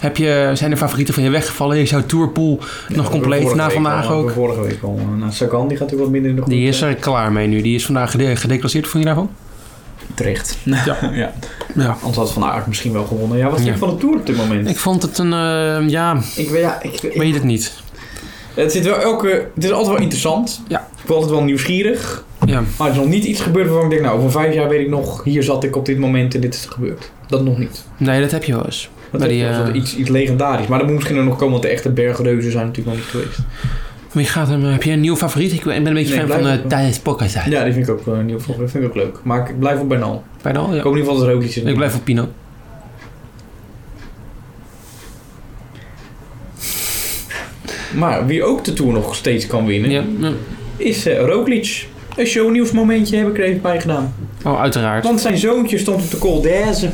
Speaker 3: Heb je, zijn er favorieten van je weggevallen? Is jouw tourpool nog compleet na vandaag ook?
Speaker 4: Vorige week al. Nou, Sagan die gaat ook wat minder in de
Speaker 3: Die is er klaar mee nu. Die is vandaag gede- gedeclasseerd. Vond je daarvan?
Speaker 4: terecht. Ja. ja.
Speaker 3: Ja.
Speaker 4: Anders had Van Aert misschien wel gewonnen. Ja, wat vind
Speaker 3: Ja.
Speaker 4: je van de Tour op dit moment?
Speaker 3: Ik vond het een, eh, ja,
Speaker 4: Ik weet- ja, ik, ik-
Speaker 3: weet het niet.
Speaker 4: het, zit wel elke, het is altijd wel interessant.
Speaker 3: Ja.
Speaker 4: Ik ben altijd wel nieuwsgierig.
Speaker 3: Ja.
Speaker 4: Maar er is nog niet iets gebeurd waarvan ik denk, nou, over vijf jaar weet ik nog, hier zat ik op dit moment en dit is er gebeurd. Dat nog niet.
Speaker 3: Nee, dat heb je wel eens.
Speaker 4: Dat
Speaker 3: Maar
Speaker 4: is
Speaker 3: die,
Speaker 4: wel
Speaker 3: eh,
Speaker 4: soort iets, iets legendarisch. Maar dat moet misschien er nog komen, want de echte bergreuzen zijn natuurlijk nog niet geweest.
Speaker 3: Wie gaat hem, eh, heb je een nieuw favoriet? Ik ben ik ben een beetje
Speaker 4: Nee,
Speaker 3: fan van
Speaker 4: blijf
Speaker 3: eh
Speaker 4: ook wel.
Speaker 3: Thijs Pokkazijn.
Speaker 4: Ja, die vind ik ook eh, nieuw. Dat vind ik ook leuk. Maar ik blijf op Bernal.
Speaker 3: Bijna al, ja.
Speaker 4: Ik hoop in ieder geval dat er ook iets in
Speaker 3: Ik blijf op Pino.
Speaker 4: Maar wie ook de Tour nog steeds kan winnen,
Speaker 3: Ja. ja.
Speaker 4: is eh, Roglic. een shownieuwsmomentje heb ik er even bij gedaan.
Speaker 3: Oh, uiteraard.
Speaker 4: Want zijn zoontje stond op de Coldaise.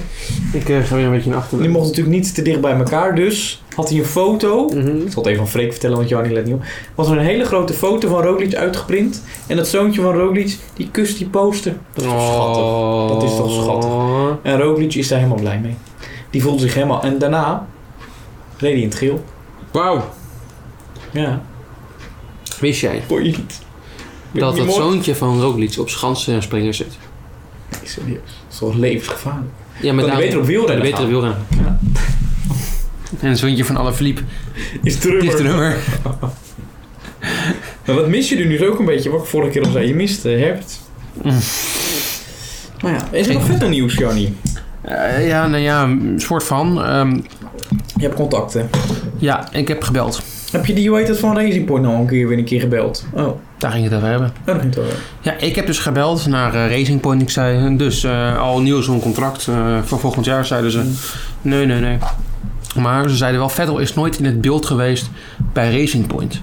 Speaker 3: Ik eh, ga weer een beetje naar
Speaker 4: Die
Speaker 3: achteren.
Speaker 4: mocht natuurlijk niet te dicht bij elkaar, dus had hij een foto.
Speaker 3: Mhm.
Speaker 4: Ik zal het even aan Freek vertellen, want Johanny let niet op. Was er een hele grote foto van Roglic uitgeprint. En dat zoontje van Roglic, die kust die poster. Dat is toch schattig.
Speaker 3: Oh.
Speaker 4: Dat is toch schattig? En Roglic is daar helemaal blij mee. Die voelde zich helemaal... En daarna reed hij in het geel.
Speaker 7: Wauw.
Speaker 4: Ja,
Speaker 3: Wist jij
Speaker 4: boeiend.
Speaker 3: dat
Speaker 4: Die
Speaker 3: het
Speaker 4: moord-
Speaker 3: zoontje van Roglic op schansen en springen zit?
Speaker 4: Ik Serieus, dat is toch levensgevaarlijk.
Speaker 3: Ja,
Speaker 4: Maar
Speaker 3: maar
Speaker 4: kan hij beter op wielrennen
Speaker 3: betere
Speaker 4: gaan.
Speaker 3: wielrennen.
Speaker 4: Ja.
Speaker 3: En het zoontje van Alaphilippe,
Speaker 4: Is
Speaker 3: die is
Speaker 4: terug.
Speaker 3: drummer.
Speaker 4: Maar wat mis je nu dus ook een beetje, wat ik vorige keer al zei. Je mist eh, Herbert.
Speaker 3: Mm.
Speaker 4: Maar ja, is er
Speaker 3: Geen-
Speaker 4: nog verder nieuws, Johnny?
Speaker 3: Eh, ja, nou ja, een soort van. Ehm,
Speaker 4: Je hebt contacten.
Speaker 3: ja, ik heb gebeld.
Speaker 4: Heb je die, hoe heet dat, van Racing Point nou een keer weer een keer gebeld? Oh, nou,
Speaker 3: Daar ging het over hebben.
Speaker 4: dat ging toch wel.
Speaker 3: Ja, ik heb dus gebeld naar eh, Racing Point. Ik zei, dus eh, al nieuw zo'n contract eh, voor volgend jaar, zeiden ze.
Speaker 4: Mm.
Speaker 3: Nee, nee, nee. Maar ze zeiden wel, Vettel is nooit in het beeld geweest bij Racing Point.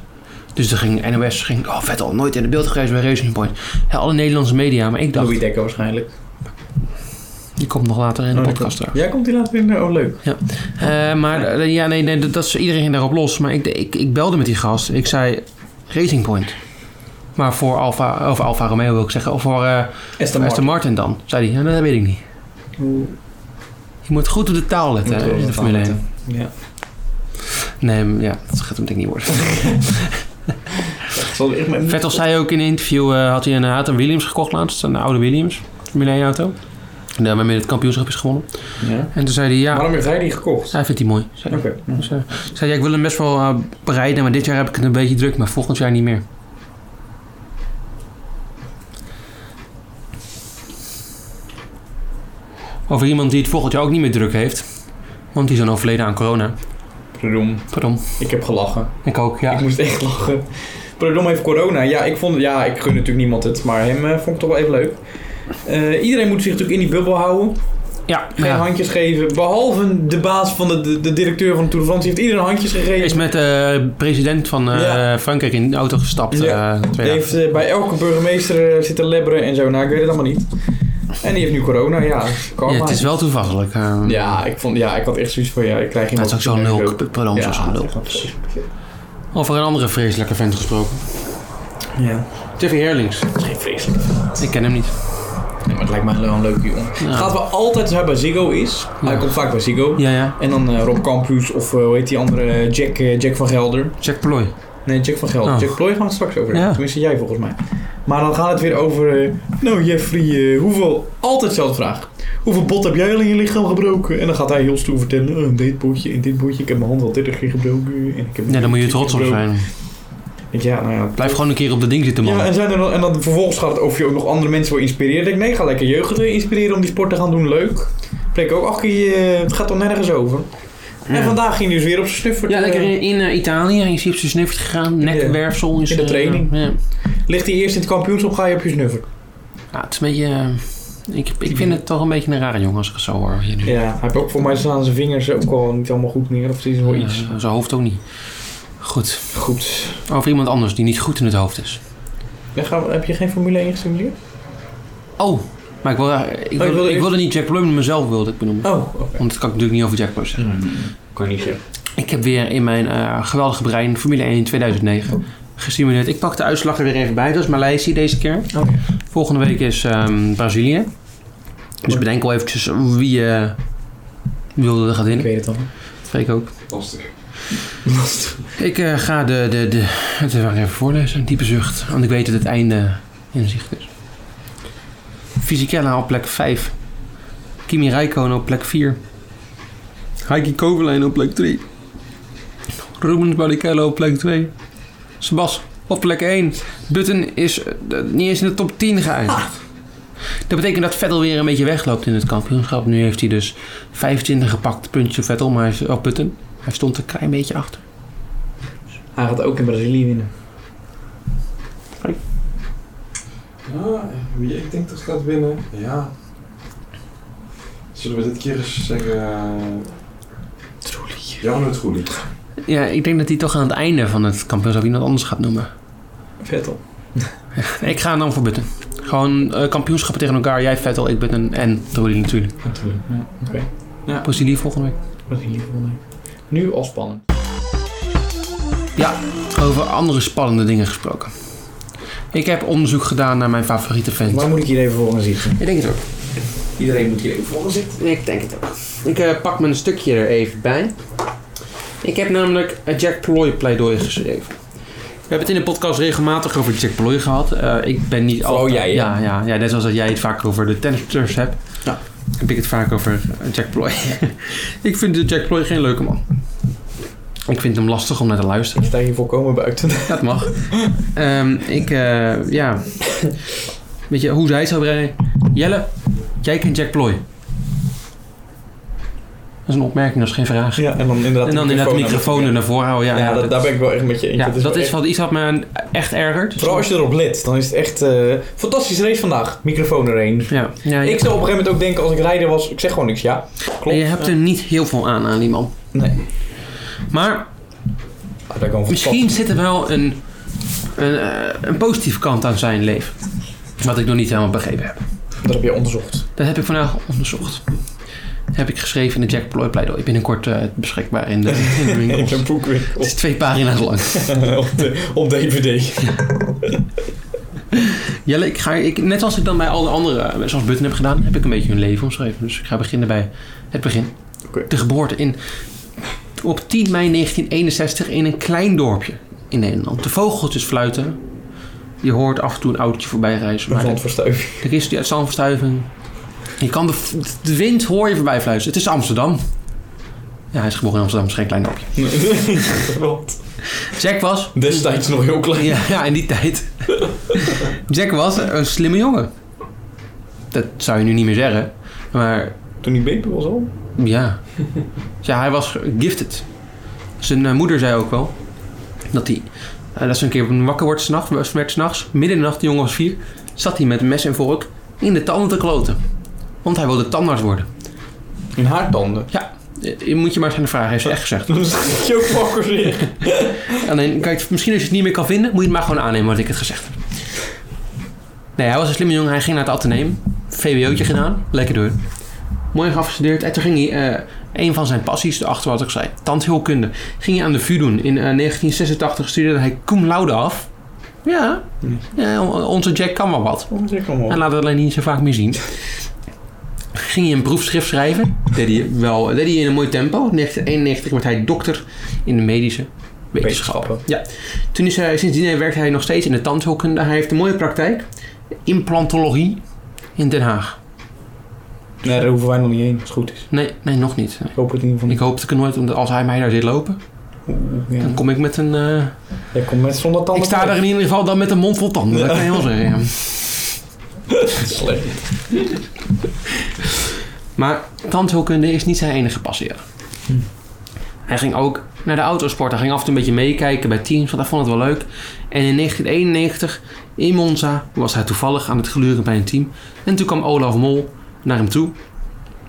Speaker 3: Dus er ging NOS, ging, oh Vettel, nooit in het beeld geweest bij Racing Point. Ja, alle Nederlandse media, maar ik dacht,
Speaker 4: Louis Dekker waarschijnlijk.
Speaker 3: die komt nog later in de
Speaker 4: Oh,
Speaker 3: podcast terug.
Speaker 4: Jij komt die later in. Oh, leuk.
Speaker 3: Eh, maar eh, ja, nee, nee, dat, dat is, iedereen ging daarop los. Maar ik, ik, ik belde met die gast. Ik zei Racing Point. Maar voor Alfa, of Alfa Romeo wil ik zeggen. Of voor eh
Speaker 4: Esther
Speaker 3: Aston
Speaker 4: Martin.
Speaker 3: Martin dan. Zei hij, "Ja, dat weet ik niet.
Speaker 4: Hoe-
Speaker 3: Je moet goed op de taal letten
Speaker 4: Moet
Speaker 3: hè,
Speaker 4: wel
Speaker 3: eh, in de
Speaker 4: wat
Speaker 3: Formule 1.
Speaker 4: aanletten. Ja.
Speaker 3: Nee, maar ja, dat gaat hem denk ik niet worden.
Speaker 4: Zal ik met...
Speaker 3: Vettel zei ook in een interview, eh, had hij een, had een Williams gekocht laatst. Een oude Williams, Formule 1 auto. En daarmee het kampioenschap is gewonnen.
Speaker 4: Ja.
Speaker 3: En toen zei hij, ja,
Speaker 4: Waarom heeft hij die gekocht?
Speaker 3: hij vindt die mooi. Zei
Speaker 4: Oké.
Speaker 3: hij. Dus, eh, zei hij, ja, ik wil hem best wel eh, bereiden, maar dit jaar heb ik het een beetje druk, maar volgend jaar niet meer. Over iemand die het volgend jaar ook niet meer druk heeft. Want die is dan overleden aan corona.
Speaker 4: Pardon.
Speaker 3: Pardon.
Speaker 4: Ik heb gelachen.
Speaker 3: Ik ook, ja.
Speaker 4: Ik moest echt lachen. Pardon heeft corona. Ja, ik vond... Ja, ik gun natuurlijk niemand het. Maar hem eh, vond ik toch wel even leuk. Eh, iedereen moet zich natuurlijk in die bubbel houden.
Speaker 3: Ja,
Speaker 4: Geen
Speaker 3: maar ja.
Speaker 4: handjes geven. Behalve de baas van de, de, de directeur van de Tour de France. Die heeft iedereen handjes gegeven.
Speaker 3: Is met de president van eh,
Speaker 4: Ja.
Speaker 3: Frankrijk in de auto gestapt.
Speaker 4: Ja.
Speaker 3: eh, twee
Speaker 4: Die
Speaker 3: dagen.
Speaker 4: heeft eh, bij elke burgemeester eh, zitten lebberen en zo. Nou, ik weet het allemaal niet. En die heeft nu corona. Ja,
Speaker 3: Ja,
Speaker 4: karma.
Speaker 3: het is wel toevallig. eh.
Speaker 4: Ja, ik, vond, ja, ik had echt zoiets van, ja, ik krijg
Speaker 3: Dat
Speaker 4: iemand...
Speaker 3: is ook zo'n
Speaker 4: Ja,
Speaker 3: nul. Pardon,
Speaker 4: Ja,
Speaker 3: zo'n nul.
Speaker 4: dat is-
Speaker 3: Over een andere vreselijke vent gesproken.
Speaker 4: Ja.
Speaker 3: Tiffy Herlings.
Speaker 4: Dat is geen vreselijk.
Speaker 3: Ik ken hem niet.
Speaker 4: Nee, maar het lijkt mij wel een leuke jongen.
Speaker 3: Ja.
Speaker 4: Gaat wel altijd waar bij Ziggo is. Hij
Speaker 3: Ja.
Speaker 4: komt vaak bij Ziggo.
Speaker 3: Ja, ja.
Speaker 4: En dan eh, Rob Campus of eh, hoe heet die andere? eh, Jack, eh, Jack van Gelder.
Speaker 3: Jack Ploy.
Speaker 4: Nee, Jack van Gelder.
Speaker 3: Oh.
Speaker 4: Jack Ploy gaan we het straks over hebben.
Speaker 3: Ja.
Speaker 4: Tenminste, jij volgens mij. Maar dan gaat het weer over... eh, nou, Jeffrey, eh, hoeveel... Altijd dezelfde vraag. Hoeveel bot heb jij al in je lichaam gebroken? En dan gaat hij heel stoer vertellen. Oh, dit botje en dit botje. Ik heb mijn hand al 30 keer gebroken. En ik heb
Speaker 3: Ja, daar moet
Speaker 4: 40
Speaker 3: je trots op
Speaker 4: keer gebroken."
Speaker 3: zijn.
Speaker 4: Ik denk, Ja, nou ja.
Speaker 3: Blijf gewoon een keer op dat ding zitten, man.
Speaker 4: Ja, en, zijn er dan, en dan vervolgens gaat het over je ook nog andere mensen wil inspireren. Ik denk, nee, ga lekker jeugd inspireren om die sport te gaan doen. Leuk. Plek ook, ach, je, eh, het gaat toch nergens over. En
Speaker 3: Ja.
Speaker 4: vandaag ging hij dus weer op zijn snuffer.
Speaker 3: Ja, lekker
Speaker 4: Eh,
Speaker 3: in, in eh, Italië. Hij is op zijn snuffert gegaan. Nekwerfsel. is
Speaker 4: In de
Speaker 3: eh,
Speaker 4: training.
Speaker 3: Ja.
Speaker 4: Ligt hij eerst in het kampioenschap, ga je op je snuffer.
Speaker 3: Ja, het is een beetje... eh, Ik, ik vind het toch een beetje een rare jongen als ik het zo hoor. Hier nu.
Speaker 4: Ja, hij heeft ook voor mij staan zijn vingers ook al niet allemaal goed meer. Of het is wel
Speaker 3: Ja,
Speaker 4: iets.
Speaker 3: zijn hoofd ook niet. Goed.
Speaker 4: Goed.
Speaker 3: Over iemand anders die niet goed in het hoofd is.
Speaker 4: Dan gaan we- heb je geen Formule 1 gestimuleerd?
Speaker 3: Oh, maar ik, wil, eh,
Speaker 4: wilde
Speaker 3: ik, wilde, ik
Speaker 4: Oh, eerst-
Speaker 3: wilde niet Jack Plum, maar mezelf wilde ik benoemen.
Speaker 4: Oh, oké.
Speaker 3: Want dat kan ik natuurlijk niet over Jack Plum zeggen.
Speaker 4: Kan niet zeggen.
Speaker 3: Ik heb weer in mijn eh, geweldige brein Formule 1 in
Speaker 4: Oh.
Speaker 3: 2009 gestimuleerd. Ik pak de uitslag er weer even bij. Dat is Maleisië deze keer.
Speaker 4: Oh, ja.
Speaker 3: Volgende week is ehm, Brazilië. Dus bedenk wel eventjes wie eh, wilde er gaat
Speaker 4: Ik
Speaker 3: winnen.
Speaker 4: weet het al.
Speaker 3: Freek ook.
Speaker 2: Lastig.
Speaker 3: Ik eh, ga de, de, de... Het wil ik even voorlezen. Diepe zucht. Want ik weet dat het einde in zicht is. Fisichella op plek 5. Kimi Räikkönen op plek 4. Heikki Kovalainen op plek 3. Ruben Barrichello op plek 2. Sebas op plek 1. Button is eh, niet eens in de top 10 geëindigd. Ah. Dat betekent dat Vettel weer een beetje wegloopt in het kampioenschap. Nu heeft hij dus 25 gepakt puntje Vettel, maar hij is op Button. Hij stond een klein beetje achter.
Speaker 4: Hij gaat ook in Brazilië winnen.
Speaker 2: Ja, wie ik denk dat gaat winnen, ja. Zullen we dit keer eens zeggen... Troelie. Jan het Troelie.
Speaker 3: Ja, ik denk dat hij toch aan het einde van het kampioenschap iemand anders gaat noemen.
Speaker 4: Vettel.
Speaker 3: Ik ga dan voor Butten. Gewoon eh, kampioenschappen tegen elkaar. Jij Vettel, ik Butten en Trulli natuurlijk.
Speaker 4: Natuurlijk. Ja, oké.
Speaker 3: Brazilië volgende week.
Speaker 4: Wat in ieder geval nee. Nu al spannend.
Speaker 3: Over andere spannende dingen gesproken. Ik heb onderzoek gedaan naar mijn favoriete fans.
Speaker 8: Waar moet ik hier even voor gaan zitten?
Speaker 3: Ik denk het ook.
Speaker 4: Iedereen moet hier even volgen zitten.
Speaker 3: Ik denk het ook. Ik eh, pak mijn stukje er even bij. Ik heb namelijk een Jack Ploy pleidooi geschreven. We hebben het in de podcast regelmatig over Jack Ploy gehad. Eh, ik ben niet
Speaker 4: Vooral Oh, jij, hè?
Speaker 3: Ja, ja, ja, net zoals dat jij het vaak over de tennisspelers hebt.
Speaker 4: Ja.
Speaker 3: Heb ik het vaak over eh, Jack Ploy. ik vind de Jack Ploy geen leuke man. Ik vind hem lastig om naar te luisteren.
Speaker 4: Ik sta hier volkomen buiten.
Speaker 3: Dat mag. Ehm, ik, eh, ja. Weet je hoe zij het zou brengen? Jelle, jij kent Jack Ploy. Dat is een opmerking, dat is geen vraag.
Speaker 4: Ja, en dan inderdaad,
Speaker 3: en dan inderdaad de microfoon er naar voren houden. Ja,
Speaker 4: Ja, dat, daar ben ik wel echt met je eens.
Speaker 3: ja,
Speaker 4: wel
Speaker 3: dat is
Speaker 4: echt-
Speaker 3: wat iets wat me echt ergert.
Speaker 4: Vooral als je erop let, dan is het echt... eh fantastische race vandaag. Microfoon erheen.
Speaker 3: Ja, ja, ja.
Speaker 4: Ik zou op een gegeven moment ook denken, als ik rijder was, ik zeg gewoon niks. Ja, klopt.
Speaker 3: En je hebt er niet heel veel aan aan die man.
Speaker 4: Nee.
Speaker 3: Maar
Speaker 4: Ah, daar kan ik
Speaker 3: misschien zit er wel een, een, eh, een positieve kant aan zijn leven. Wat ik nog niet helemaal begrepen heb.
Speaker 4: van- Dat heb je onderzocht.
Speaker 3: Dat heb ik vandaag onderzocht. Heb ik geschreven in de Jack Ploy pleidooi. Binnenkort eh, beschikbaar in de, in de
Speaker 4: In
Speaker 3: winkels.
Speaker 4: een boekwinkel.
Speaker 3: Het is twee pagina's lang.
Speaker 4: eh, op, de, op DVD.
Speaker 3: Jelle, ik ga, ik, net als ik dan bij al de andere, eh, zoals Button heb gedaan, heb ik een beetje hun leven omschreven. Dus ik ga beginnen bij het begin.
Speaker 4: Oké.
Speaker 3: De geboorte in, op 10 mei 1961 in een klein dorpje in Nederland. De vogeltjes fluiten. Je hoort af en toe een autootje voorbij reizen.
Speaker 4: Een
Speaker 3: Maar
Speaker 4: zand verstuiving.
Speaker 3: Er is die uit zandverstuiving. Je kan de, de wind hoor je voorbij fluiten. Het is Amsterdam. Ja, hij is geboren in Amsterdam, het is geen klein dorpje.
Speaker 4: Wat?
Speaker 3: Jack was...
Speaker 4: Destijds nog heel klein.
Speaker 3: Ja, ja, in die tijd. Jack was een slimme jongen. Dat zou je nu niet meer zeggen. Maar
Speaker 4: Toen die baby was al.
Speaker 3: ja. Ja, hij was gifted. Zijn eh, moeder zei ook wel dat hij... eh, dat ze een keer wakker wordt s'nachts, werd s'nachts, midden in de nacht, de jongen was vier, zat hij met mes en vork in de tanden te kloten. Want hij wilde tandarts worden.
Speaker 4: In haar tanden.
Speaker 3: Eh, Je moet je maar eens aan de vraag, heeft ze echt gezegd.
Speaker 4: Dan zit je ook wakker weer.
Speaker 3: Alleen, kijk, misschien als je het niet meer kan vinden, moet je het maar gewoon aannemen wat ik het gezegd heb. Nee, hij was een slimme jongen, hij ging naar het ateneem. VWO'tje gedaan, lekker door. Mooi geafgestudeerd. En toen ging hij eh, een van zijn passies, erachter wat ik zei, tandheelkunde, ging hij aan de VU doen. In eh, 1986 studeerde hij cum laude af. Ja, ja, on- onze Jack kan wel wat.
Speaker 4: Kom, zeg Oh, maar
Speaker 3: En
Speaker 4: op.
Speaker 3: laat het alleen niet zo vaak meer zien. Ging hij een proefschrift schrijven? Deed hij, wel, deed hij in een mooi tempo. 1991 werd hij dokter in de medische wetenschappen.
Speaker 4: Wetenschappen.
Speaker 3: Toen is hij, sindsdien werkt hij nog steeds in de tandheelkunde. Hij heeft een mooie praktijk. Implantologie in Den Haag.
Speaker 4: Nee, daar hoeven wij nog niet heen. Als het goed is.
Speaker 3: Nee, nee nog niet. Nee.
Speaker 4: Ik hoop het in ieder
Speaker 3: Ik
Speaker 4: geval
Speaker 3: hoop dat ik er nooit, omdat als hij mij daar zit lopen,
Speaker 4: niet. Ja.
Speaker 3: dan kom ik met een... eh,
Speaker 4: Jij komt met zonder tanden.
Speaker 3: ik sta daar in ieder geval dan met een mond vol tanden. Dat kan je wel zeggen, ja.
Speaker 4: Slecht.
Speaker 3: Maar tandheelkunde is niet zijn enige passie. ja.
Speaker 4: Hm.
Speaker 3: Hij ging ook naar de autosport. Hij ging af en toe een beetje meekijken bij teams, want hij vond het wel leuk. En in 1991 in Monza was hij toevallig aan het gluren bij een team. En toen kwam Olaf Mol naar hem toe,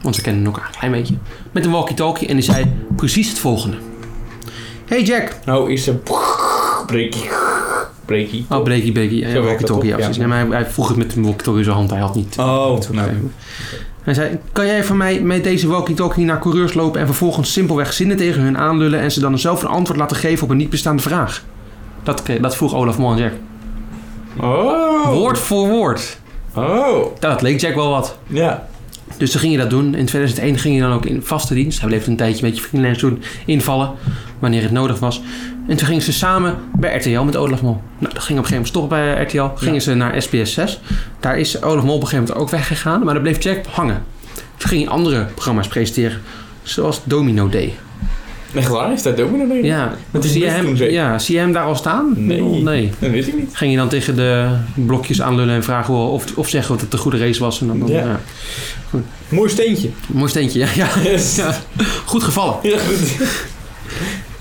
Speaker 3: want ze kenden elkaar een klein beetje, met een walkie-talkie en die zei precies het volgende. Hey Jack!
Speaker 4: Nou is ze... Breekie. Breekie.
Speaker 3: Oh, breakie, breakie. Ja,
Speaker 4: Zo werkt dat
Speaker 3: walkie-talkie,
Speaker 4: toch?
Speaker 3: ja, precies.
Speaker 4: Ja.
Speaker 3: Nee, maar hij, hij vroeg het met een walkie-talkie in zijn hand. Hij had niet...
Speaker 4: Oh, nou.
Speaker 3: Hij zei, kan jij van mij met deze walkie-talkie naar coureurs lopen en vervolgens simpelweg zinnen tegen hun aanlullen en ze dan zelf een antwoord laten geven op een niet bestaande vraag? Dat, kre- dat vroeg Olaf Mol aan Jack.
Speaker 4: Oh.
Speaker 3: Woord voor woord.
Speaker 4: Oh.
Speaker 3: Dat leek Jack wel wat.
Speaker 4: Ja.
Speaker 3: Dus toen ging je dat doen. In 2001 ging je dan ook in vaste dienst. Hij bleef een tijdje een beetje freelance doen, invallen wanneer het nodig was. En toen gingen ze samen bij RTL met Olaf Mol. Nou, dat ging op een gegeven moment stoppen bij RTL. Gingen ze naar SBS 6. Daar is Olaf Mol op een gegeven moment ook weggegaan, maar daar bleef Jack hangen. Toen ging hij andere programma's presenteren, zoals Domino Day.
Speaker 4: Echt waar? Is dat ook weer een
Speaker 3: Ja,
Speaker 4: Met die
Speaker 3: zie je,
Speaker 4: brief
Speaker 3: hem,
Speaker 4: toen, zeker?
Speaker 3: ja, zie je hem daar al staan?
Speaker 4: Nee.
Speaker 3: nee.
Speaker 4: Dat weet ik niet.
Speaker 3: Ging je dan tegen de blokjes aanlullen en vragen of, of zeggen dat het een goede race was? En dan, dan-
Speaker 4: Ja.
Speaker 3: ja.
Speaker 4: Mooi steentje.
Speaker 3: Mooi steentje, ja. ja.
Speaker 4: Yes.
Speaker 3: Ja, goed gevallen.
Speaker 4: Ja, goed.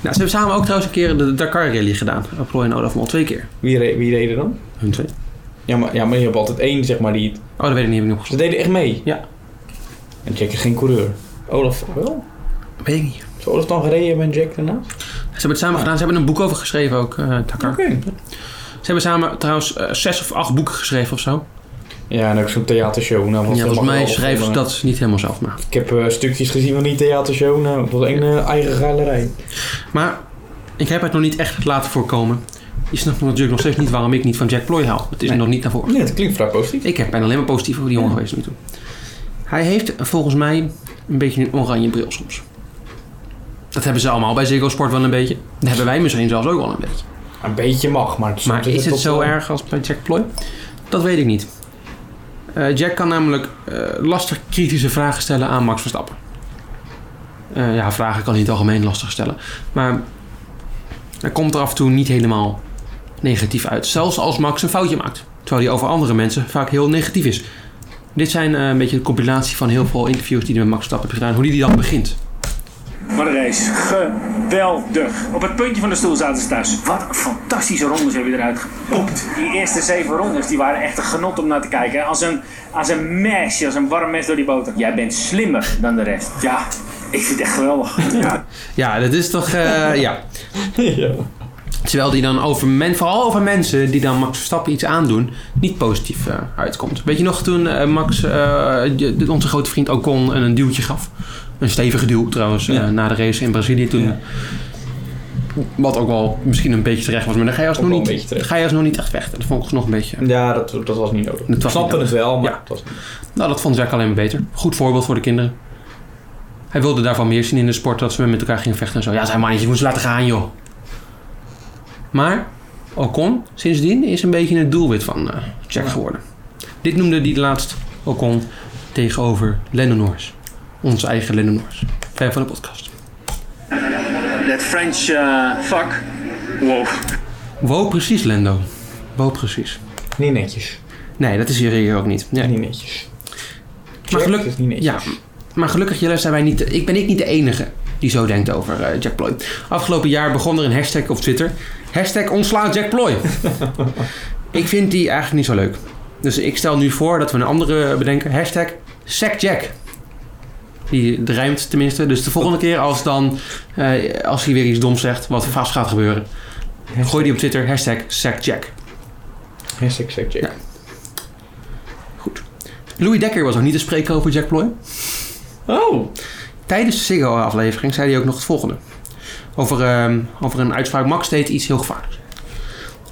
Speaker 3: Nou, ze hebben samen ook trouwens een keer de Dakar Rally gedaan. Ploy en Olaf Mol, twee keer.
Speaker 4: Wie, re wie reden dan?
Speaker 3: Hun twee.
Speaker 4: Ja maar, ja, maar je hebt altijd één, zeg maar, die...
Speaker 3: Oh, dat weet ik niet, heb ik niet
Speaker 4: Ze
Speaker 3: opgezocht.
Speaker 4: deden echt mee.
Speaker 3: Ja.
Speaker 4: En Jack is geen coureur. Olaf wel?
Speaker 3: Weet ik niet. Oh.
Speaker 4: Is Olaf dan gereden met Jack daarna?
Speaker 3: Ze hebben het samen gedaan, ze hebben een boek over geschreven ook, eh Dakar.
Speaker 4: Oké.
Speaker 3: hebben samen trouwens eh, zes of acht boeken geschreven of zo.
Speaker 4: Ja, en ook zo'n theatershow. Nou, was
Speaker 3: Ja,
Speaker 4: dat
Speaker 3: volgens
Speaker 4: mag
Speaker 3: mij
Speaker 4: wel
Speaker 3: schrijven ze
Speaker 4: vonden.
Speaker 3: dat niet helemaal zelf. Maar,
Speaker 4: Ik heb eh, stukjes gezien van die theatershow. Nou, het was een eh, eigen galerij.
Speaker 3: maar ik heb het nog niet echt laten voorkomen. Je snapt natuurlijk nog steeds niet waarom ik niet van Jack Ploy hou. Het is
Speaker 9: Nee.
Speaker 3: nog niet naar voren.
Speaker 4: Nee, het klinkt vrij positief.
Speaker 3: Ik heb bijna alleen maar positief over die jongen geweest nu toe. Hij heeft volgens mij een beetje een oranje bril soms. Dat hebben ze allemaal bij Ziggo Sport wel een beetje. Dat hebben wij misschien zelfs ook wel een beetje.
Speaker 4: Een beetje mag, maar... soms
Speaker 3: Maar is het
Speaker 4: toch
Speaker 3: zo
Speaker 4: wel-
Speaker 3: erg als bij Jack Ploy? Dat weet ik niet. Eh, Jack kan namelijk eh, lastig kritische vragen stellen aan Max Verstappen. Eh, ja, vragen kan hij in het algemeen lastig stellen. Maar hij komt er af en toe niet helemaal negatief uit. Zelfs als Max een foutje maakt. Terwijl hij over andere mensen vaak heel negatief is. Dit zijn eh, een beetje een compilatie van heel veel interviews die hij met Max Verstappen heeft gedaan. Hoe die dan begint.
Speaker 10: Maar de race, geweldig. Op het puntje van de stoel zaten ze thuis. Wat een fantastische rondes heb je eruit gepoept. Die eerste zeven rondes die waren echt een genot om naar te kijken. Als een, als een mesje, als een warm mes door die boter. Jij bent slimmer dan de rest. Ja, ik vind het echt geweldig. Ja.
Speaker 3: Ja, dat is toch... eh, ja.
Speaker 4: ja.
Speaker 3: Terwijl die dan over men, vooral over mensen die dan Max Verstappen iets aandoen, niet positief eh, uitkomt. Weet je nog toen eh, Max, eh, je- onze grote vriend Ocon, een, een duwtje gaf? Een stevige duw trouwens, eh, na de race in Brazilië toen. Wat ook wel misschien een beetje terecht was, maar dan ga je alsnog,
Speaker 4: Ook wel
Speaker 3: niet,
Speaker 4: een beetje terecht.
Speaker 3: dan ga je alsnog niet echt weg. Dat vond ik nog een beetje...
Speaker 4: Ja, dat, dat was niet nodig.
Speaker 3: Dat
Speaker 4: Ik
Speaker 3: was
Speaker 4: snapte
Speaker 3: niet
Speaker 4: het wel, maar
Speaker 3: Ja.
Speaker 4: het was niet
Speaker 3: Nou, dat vond Jack alleen maar beter. Goed voorbeeld voor de kinderen. Hij wilde daarvan meer zien in de sport, dat ze met elkaar gingen vechten en zo. Ja, zijn mannetje, je moet ze laten gaan, joh. Maar Ocon, sindsdien, is een beetje het doelwit van eh Jack geworden. Dit noemde hij laatst Ocon tegenover Lennon Norris. Onze eigen Lennon Norris. Fan van de podcast.
Speaker 10: That French eh, fuck. Wow.
Speaker 3: Wow, precies, Lendo. Wow, precies.
Speaker 4: Niet netjes.
Speaker 3: Nee, dat is hier, hier ook niet. Nee.
Speaker 4: Niet netjes.
Speaker 3: Maar
Speaker 4: Jack
Speaker 3: geluk-
Speaker 4: is niet netjes.
Speaker 3: Ja, maar gelukkig Jelle, zijn wij niet, ik ben ik niet de enige die zo denkt over eh, Jack Ploy. Afgelopen jaar begon er een hashtag op Twitter. Hashtag ontslaat Jack Ploy. ik vind die eigenlijk niet zo leuk. Dus ik stel nu voor dat we een andere bedenken. Hashtag sack Jack. Die rijmt tenminste. Dus de volgende keer als, dan, eh, als hij weer iets doms zegt, wat vast gaat gebeuren. Gooi die op Twitter. Hashtag sack Jack.
Speaker 4: Hashtag check check.
Speaker 3: Ja. Louis Dekker was nog niet te spreken over Jack Ploy.
Speaker 4: Oh!
Speaker 3: Tijdens de Ziggo-aflevering zei hij ook nog het volgende. Over, ehm, over een uitspraak. Max deed iets heel gevaarlijks.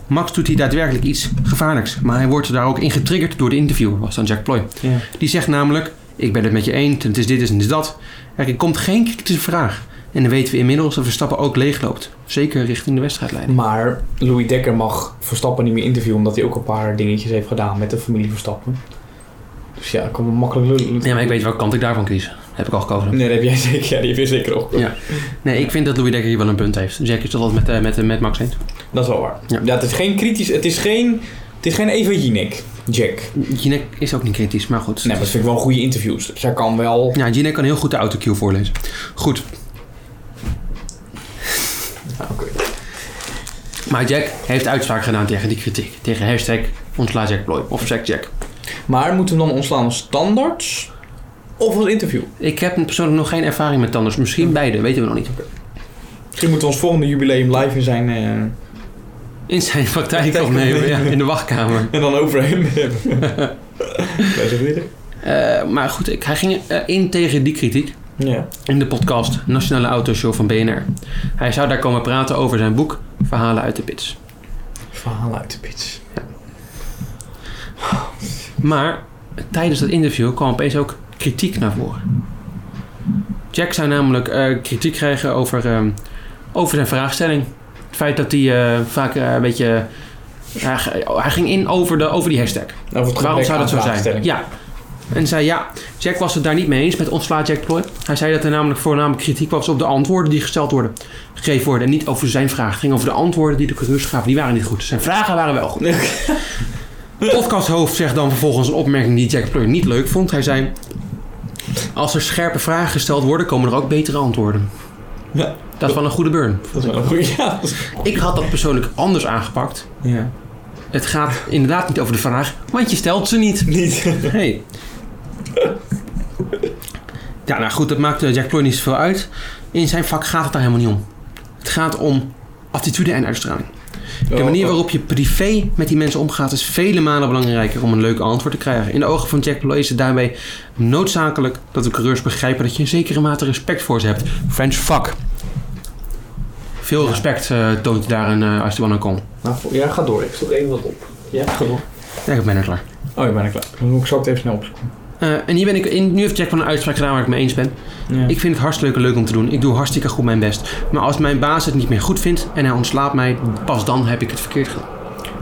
Speaker 3: Max doet hier daadwerkelijk iets gevaarlijks. Maar hij wordt daar ook in getriggerd door de interviewer. Was dan Jack Ploy.
Speaker 4: Ja.
Speaker 3: Die zegt namelijk... Ik ben het met je eens. Het is dit en het is dat. Er komt geen kritische vraag. En dan weten we inmiddels dat Verstappen ook leegloopt. Zeker richting de wedstrijdleiding.
Speaker 4: Maar Louis Dekker mag Verstappen niet meer interviewen, omdat hij ook een paar dingetjes heeft gedaan met de familie Verstappen. Dus ja, ik kan me makkelijk lullen.
Speaker 3: Nee, maar ik weet welke kant ik daarvan kies. Heb ik al gekozen.
Speaker 4: Nee, dat heb jij zeker. Ja, die heb je zeker ook.
Speaker 3: Ja. Nee, ik vind dat Louis Dekker hier wel een punt heeft. Jack is dat altijd met, eh, met, eh, met Max eens.
Speaker 4: Dat is wel waar.
Speaker 3: Ja.
Speaker 4: Ja. het is geen kritisch. Het is geen. Het is geen Eva Jinek. Jack. Nee,
Speaker 3: Jinek is ook niet kritisch, maar goed.
Speaker 4: maar dat vind ik wel goede interviews. Dus hij kan wel.
Speaker 3: Ja, Jinek kan heel goed de autocue voorlezen. Goed,
Speaker 4: Ja, Ah, oké.
Speaker 3: maar Jack heeft uitspraak gedaan tegen die kritiek. Tegen hashtag ontsla Jack Ploy of sack Jack.
Speaker 4: Maar moeten we hem dan ontslaan als standaards? Of als interview?
Speaker 3: Ik heb persoonlijk nog geen ervaring met tanders. Misschien beide, weten we nog niet.
Speaker 4: Misschien moeten we ons volgende jubileum live in zijn. eh,
Speaker 3: In zijn praktijk opnemen, ja, in de wachtkamer.
Speaker 4: en dan over hem hebben. Wij zijn vrienden.
Speaker 3: Eh, maar goed, ik, hij ging eh, in tegen die kritiek.
Speaker 4: Ja.
Speaker 3: in de podcast Nationale Autoshow van BNR. Hij zou daar komen praten over zijn boek Verhalen uit de Pits.
Speaker 4: Verhaal uit de pits.
Speaker 3: Maar tijdens dat interview kwam opeens ook kritiek naar voren. Jack zou namelijk eh, kritiek krijgen over, ehm, over zijn vraagstelling. Het feit dat hij eh, vaak eh, een beetje... eh, hij g- hij ging in over, de, over die hashtag.
Speaker 4: Over Nou, het
Speaker 3: Waarom
Speaker 4: gebrek
Speaker 3: zou dat
Speaker 4: aan
Speaker 3: zo zijn?
Speaker 4: vraagstelling.
Speaker 3: Ja. En zei ja, Jack was het daar niet mee eens met ontslaat Jack Ploy. Hij zei dat er namelijk voornamelijk kritiek was op de antwoorden die gesteld worden, gegeven worden. En niet over zijn vraag. Het ging over de antwoorden die de coureurs gaven. Die waren niet goed. Zijn vragen waren wel goed. Podcasthoofd zegt dan vervolgens een opmerking die Jack Ploy niet leuk vond. Hij zei, als er scherpe vragen gesteld worden, komen er ook betere antwoorden.
Speaker 4: Ja.
Speaker 3: Dat is wel een goede burn.
Speaker 4: Dat is wel een goede. Ja. dat is-
Speaker 3: Ik had dat persoonlijk anders aangepakt.
Speaker 4: ja.
Speaker 3: Het gaat inderdaad niet over de vraag, want je stelt ze niet.
Speaker 4: Niet.
Speaker 3: Hey. Ja, nou goed, dat maakt eh, Jack Ploy niet zoveel uit. In zijn vak gaat het daar helemaal niet om. Het gaat om attitude en uitstraling. De manier waarop je privé met die mensen omgaat is vele malen belangrijker om een leuk antwoord te krijgen. In de ogen van Jack Blow is het daarbij noodzakelijk dat de coureurs begrijpen dat je een zekere mate respect voor ze hebt. French fuck. Veel respect eh, toont je daarin eh, als je er wel aan komt.
Speaker 4: Nou, ja, ga door. Ik zoek even wat op. Ja, ga door.
Speaker 3: Ja, ik ben er klaar.
Speaker 4: Oh, ik ben er klaar. Dan moet ik zo het even snel opzoeken.
Speaker 3: Eh, en hier ben ik in, nu heeft Jack van een uitspraak gedaan waar ik mee eens ben.
Speaker 4: Ja.
Speaker 3: Ik vind het hartstikke leuk om te doen. Ik doe hartstikke goed mijn best. Maar als mijn baas het niet meer goed vindt en hij ontslaat mij, pas dan heb ik het verkeerd gedaan.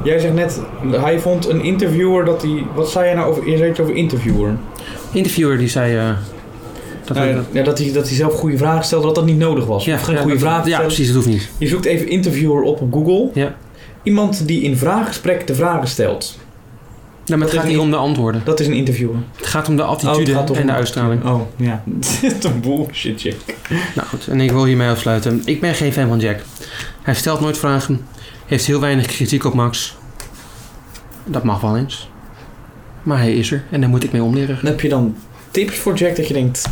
Speaker 4: Jij zegt net, hij vond een interviewer dat hij... Wat zei jij nou over, je zei iets over interviewer?
Speaker 3: Interviewer die zei. eh, dat
Speaker 4: Nou,
Speaker 3: ik
Speaker 4: ja,
Speaker 3: dat-
Speaker 4: ja, dat, hij, dat hij zelf goede vragen stelde, dat dat niet nodig was.
Speaker 3: ja,
Speaker 4: of geen
Speaker 3: ja,
Speaker 4: goede
Speaker 3: dat-
Speaker 4: vragen
Speaker 3: Ja,
Speaker 4: stellen.
Speaker 3: precies, dat hoeft niet.
Speaker 4: Je zoekt even interviewer op op Google.
Speaker 3: Ja.
Speaker 4: Iemand die in vraaggesprek de vragen stelt.
Speaker 3: Ja, Nou, maar het
Speaker 4: is
Speaker 3: gaat niet
Speaker 4: niet-
Speaker 3: om de antwoorden.
Speaker 4: Dat is een interviewer.
Speaker 3: Het gaat om de
Speaker 4: Oh, het
Speaker 3: attitude
Speaker 4: gaat toch
Speaker 3: en de
Speaker 4: om-
Speaker 3: uitstraling.
Speaker 4: Oh, ja. Dit een bullshit, Jack.
Speaker 3: Nou goed, en ik wil hiermee afsluiten. Ik ben geen fan van Jack. Hij stelt nooit vragen, heeft heel weinig kritiek op Max. Dat mag wel eens. Maar hij is er en daar moet ik mee omleren.
Speaker 4: Dan heb je dan tips voor Jack dat je denkt...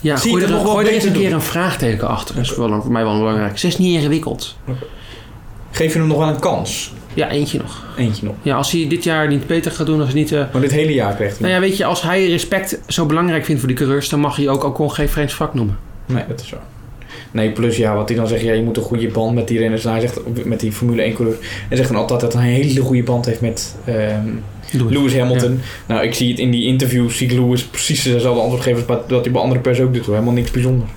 Speaker 3: Ja,
Speaker 4: Zie
Speaker 3: gooi
Speaker 4: ik
Speaker 3: er,
Speaker 4: het nog wel
Speaker 3: gooi er eens een
Speaker 4: beter
Speaker 3: keer
Speaker 4: doen?
Speaker 3: een vraagteken achter. Dat is wel, een- voor mij wel belangrijk. Ze is niet ingewikkeld.
Speaker 4: Geef je hem nog wel een kans.
Speaker 3: Ja, eentje nog.
Speaker 4: Eentje nog.
Speaker 3: Ja, als hij dit jaar niet beter gaat doen, als hij niet... eh,
Speaker 4: Maar dit hele jaar krijgt hij
Speaker 3: Nou ja, weet je, als hij respect zo belangrijk vindt voor die coureurs, dan mag hij ook Alcon geen French vak noemen.
Speaker 4: Nee, dat is zo. Nee, plus ja, wat hij dan zegt, ja, je moet een goede band met die renners. Nou, hij zegt met die Formule 1 coureur. Hij zegt dan altijd dat hij een hele goede band heeft met ehm,
Speaker 3: Doe het.
Speaker 4: Lewis Hamilton. Nou, ik zie het in die interviews, zie ik Lewis precies dezelfde antwoord geven als wat- dat hij bij andere pers ook doet. hoor. Helemaal niks bijzonders.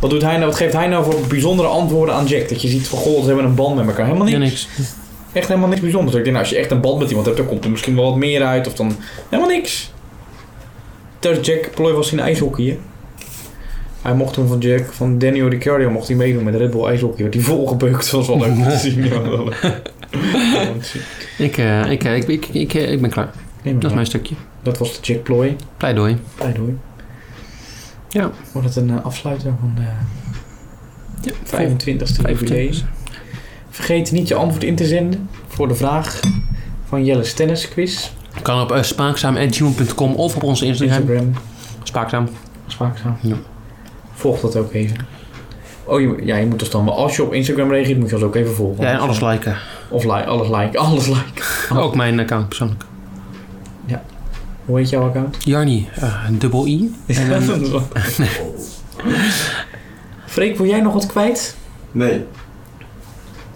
Speaker 4: Wat, doet hij nou, wat geeft hij nou voor bijzondere antwoorden aan Jack? Dat je ziet van, goh, ze hebben een band met elkaar. Helemaal niks.
Speaker 3: Ja, niks.
Speaker 4: Echt helemaal niks bijzonders. Ik denk, nou, als je echt een band met iemand hebt, dan komt er misschien wel wat meer uit. Of dan helemaal niks. Thuis Jack Ploy was in ijshockey, hè? Hij mocht toen van Jack, van Daniel Ricciardo, mocht hij meedoen met Red Bull ijshockey. Werd hij volgebeukt, dat was wel leuk om te zien. Ja, wel leuk. Ja, om te zien.
Speaker 3: Ik, eh, ik, eh, ik, ik, ik, eh, ik ben klaar.
Speaker 4: Nee, maar
Speaker 3: Dat is mijn stukje.
Speaker 4: dat was de Jack Ploy.
Speaker 3: Pleidooi.
Speaker 4: Pleidooi.
Speaker 3: Ja.
Speaker 4: Wordt het een eh, afsluiter van de
Speaker 3: Ja,
Speaker 4: 25e jubileum. Vergeet niet je antwoord in te zenden voor de vraag van Jelle's Tennis Quiz.
Speaker 3: Kan op eh, spaakzaam.tune.com of op onze Instagram.
Speaker 4: Instagram.
Speaker 3: Spaakzaam.
Speaker 4: Spaakzaam.
Speaker 3: Ja.
Speaker 4: Volg dat ook even. Oh, je, ja, je moet ons dan wel... Als je op Instagram reageert, moet je ons ook even volgen.
Speaker 3: Ja, en alles liken.
Speaker 4: Of like, alles like, alles like.
Speaker 3: Ook mijn account persoonlijk.
Speaker 4: Hoe heet jouw account?
Speaker 3: Jarni, eh, dubbel i. En dan-
Speaker 4: Dat is wel- Freek, wil jij nog wat kwijt?
Speaker 1: Nee.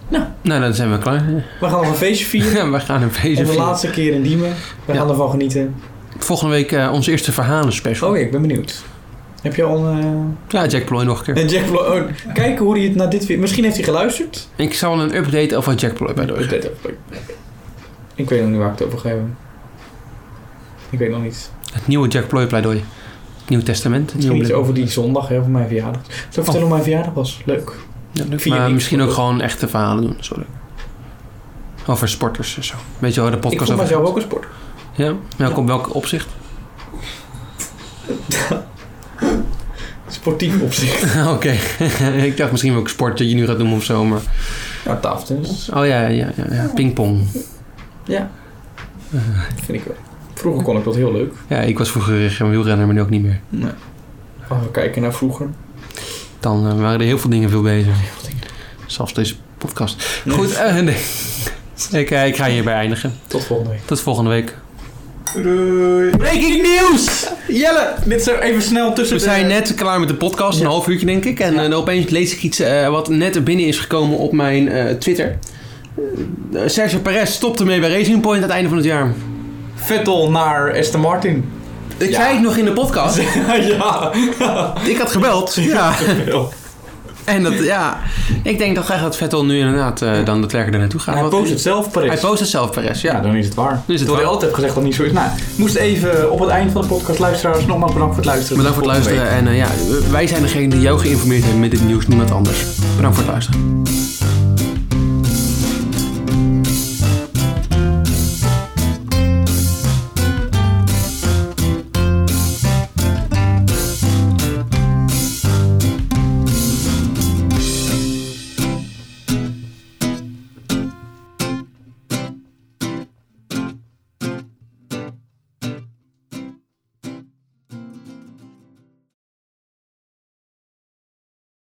Speaker 3: nou, dan zijn we klaar.
Speaker 4: We gaan nog een feestje vieren.
Speaker 3: Ja, we gaan een feestje
Speaker 4: En de
Speaker 3: vieren.
Speaker 4: laatste keer in Diemen. We
Speaker 3: Ja.
Speaker 4: gaan ervan genieten.
Speaker 3: Volgende week eh, onze eerste verhalen special.
Speaker 4: Oh ja, ik ben benieuwd. Heb je al een...
Speaker 3: Ja, Jack Ploy nog een keer.
Speaker 4: eh, een Jack Vlo- oh, kijken hoe hij het naar dit weer... Misschien heeft hij geluisterd.
Speaker 3: Ik zal een update over Jack Ploy bij
Speaker 4: Ik
Speaker 3: doorgeven.
Speaker 4: weet het- Ik weet nog niet waar ik het over ga hebben. Ik weet nog niet.
Speaker 3: Het nieuwe Jack Ploy pleidooi. Het Nieuw Testament. Het
Speaker 4: Misschien
Speaker 3: nieuwe
Speaker 4: iets over die zondag, hè, over mijn verjaardag. Zal ik vertellen hoe mijn verjaardag was? Leuk.
Speaker 3: Ja, leuk.
Speaker 4: Vier
Speaker 3: maar
Speaker 4: niks
Speaker 3: misschien ook
Speaker 4: voor de-
Speaker 3: gewoon echte verhalen doen. Sorry. Over sporters en zo. Weet je wel, de
Speaker 4: ik
Speaker 3: podcast
Speaker 4: voel
Speaker 3: over...
Speaker 4: mezelf ook een sport.
Speaker 3: Ja? Welk, op welk opzicht?
Speaker 4: Sportief op zich.
Speaker 3: Oké. ik dacht misschien welk sport dat je nu gaat doen of zo, maar...
Speaker 4: Ja, tafeltennis.
Speaker 3: Oh ja, ja, ja. ja. Pingpong.
Speaker 4: Ja. Vind ik wel. Vroeger kon ik dat heel leuk.
Speaker 3: Ja, ik was vroeger geen wielrenner, maar nu ook niet meer.
Speaker 4: Als we kijken naar vroeger.
Speaker 3: Dan eh, waren er heel veel dingen veel bezig. Zelfs deze podcast.
Speaker 4: Nee.
Speaker 3: Goed, eh, nee. ik, eh, ik ga hierbij eindigen.
Speaker 4: Tot volgende week.
Speaker 3: Tot volgende week.
Speaker 1: Doei.
Speaker 3: Breaking news! Jelle!
Speaker 4: Dit zo even snel tussen
Speaker 3: We zijn net klaar met de podcast, een half uurtje denk ik. En eh, opeens lees ik iets eh, wat net binnen is gekomen op mijn eh, Twitter. Eh, Sergio Perez stopte mee bij Racing Point aan het einde van het jaar.
Speaker 4: Vettel naar Aston Martin.
Speaker 3: Ik
Speaker 4: Ja.
Speaker 3: zei het nog in de podcast.
Speaker 4: ja.
Speaker 3: ik had gebeld. Ja. En dat, ja. Ik denk toch echt dat Vettel nu inderdaad eh, dan de er naartoe gaat.
Speaker 4: Hij
Speaker 3: Want-
Speaker 4: post het zelf, Paris.
Speaker 3: Hij post het zelf, Perez.
Speaker 4: Ja,
Speaker 3: Ja.
Speaker 4: dan is het waar.
Speaker 3: Nu is het
Speaker 4: Terwijl je
Speaker 3: wel.
Speaker 4: altijd hebt gezegd dat het niet zo is. Nou, ik moest even op het eind van de podcast luisteraars nogmaals bedankt voor het luisteren.
Speaker 3: Bedankt voor het
Speaker 4: Tot volgende
Speaker 3: luisteren. En eh, ja, wij zijn degene die jou geïnformeerd hebben met dit nieuws, niemand anders. Bedankt voor het luisteren.
Speaker 4: week.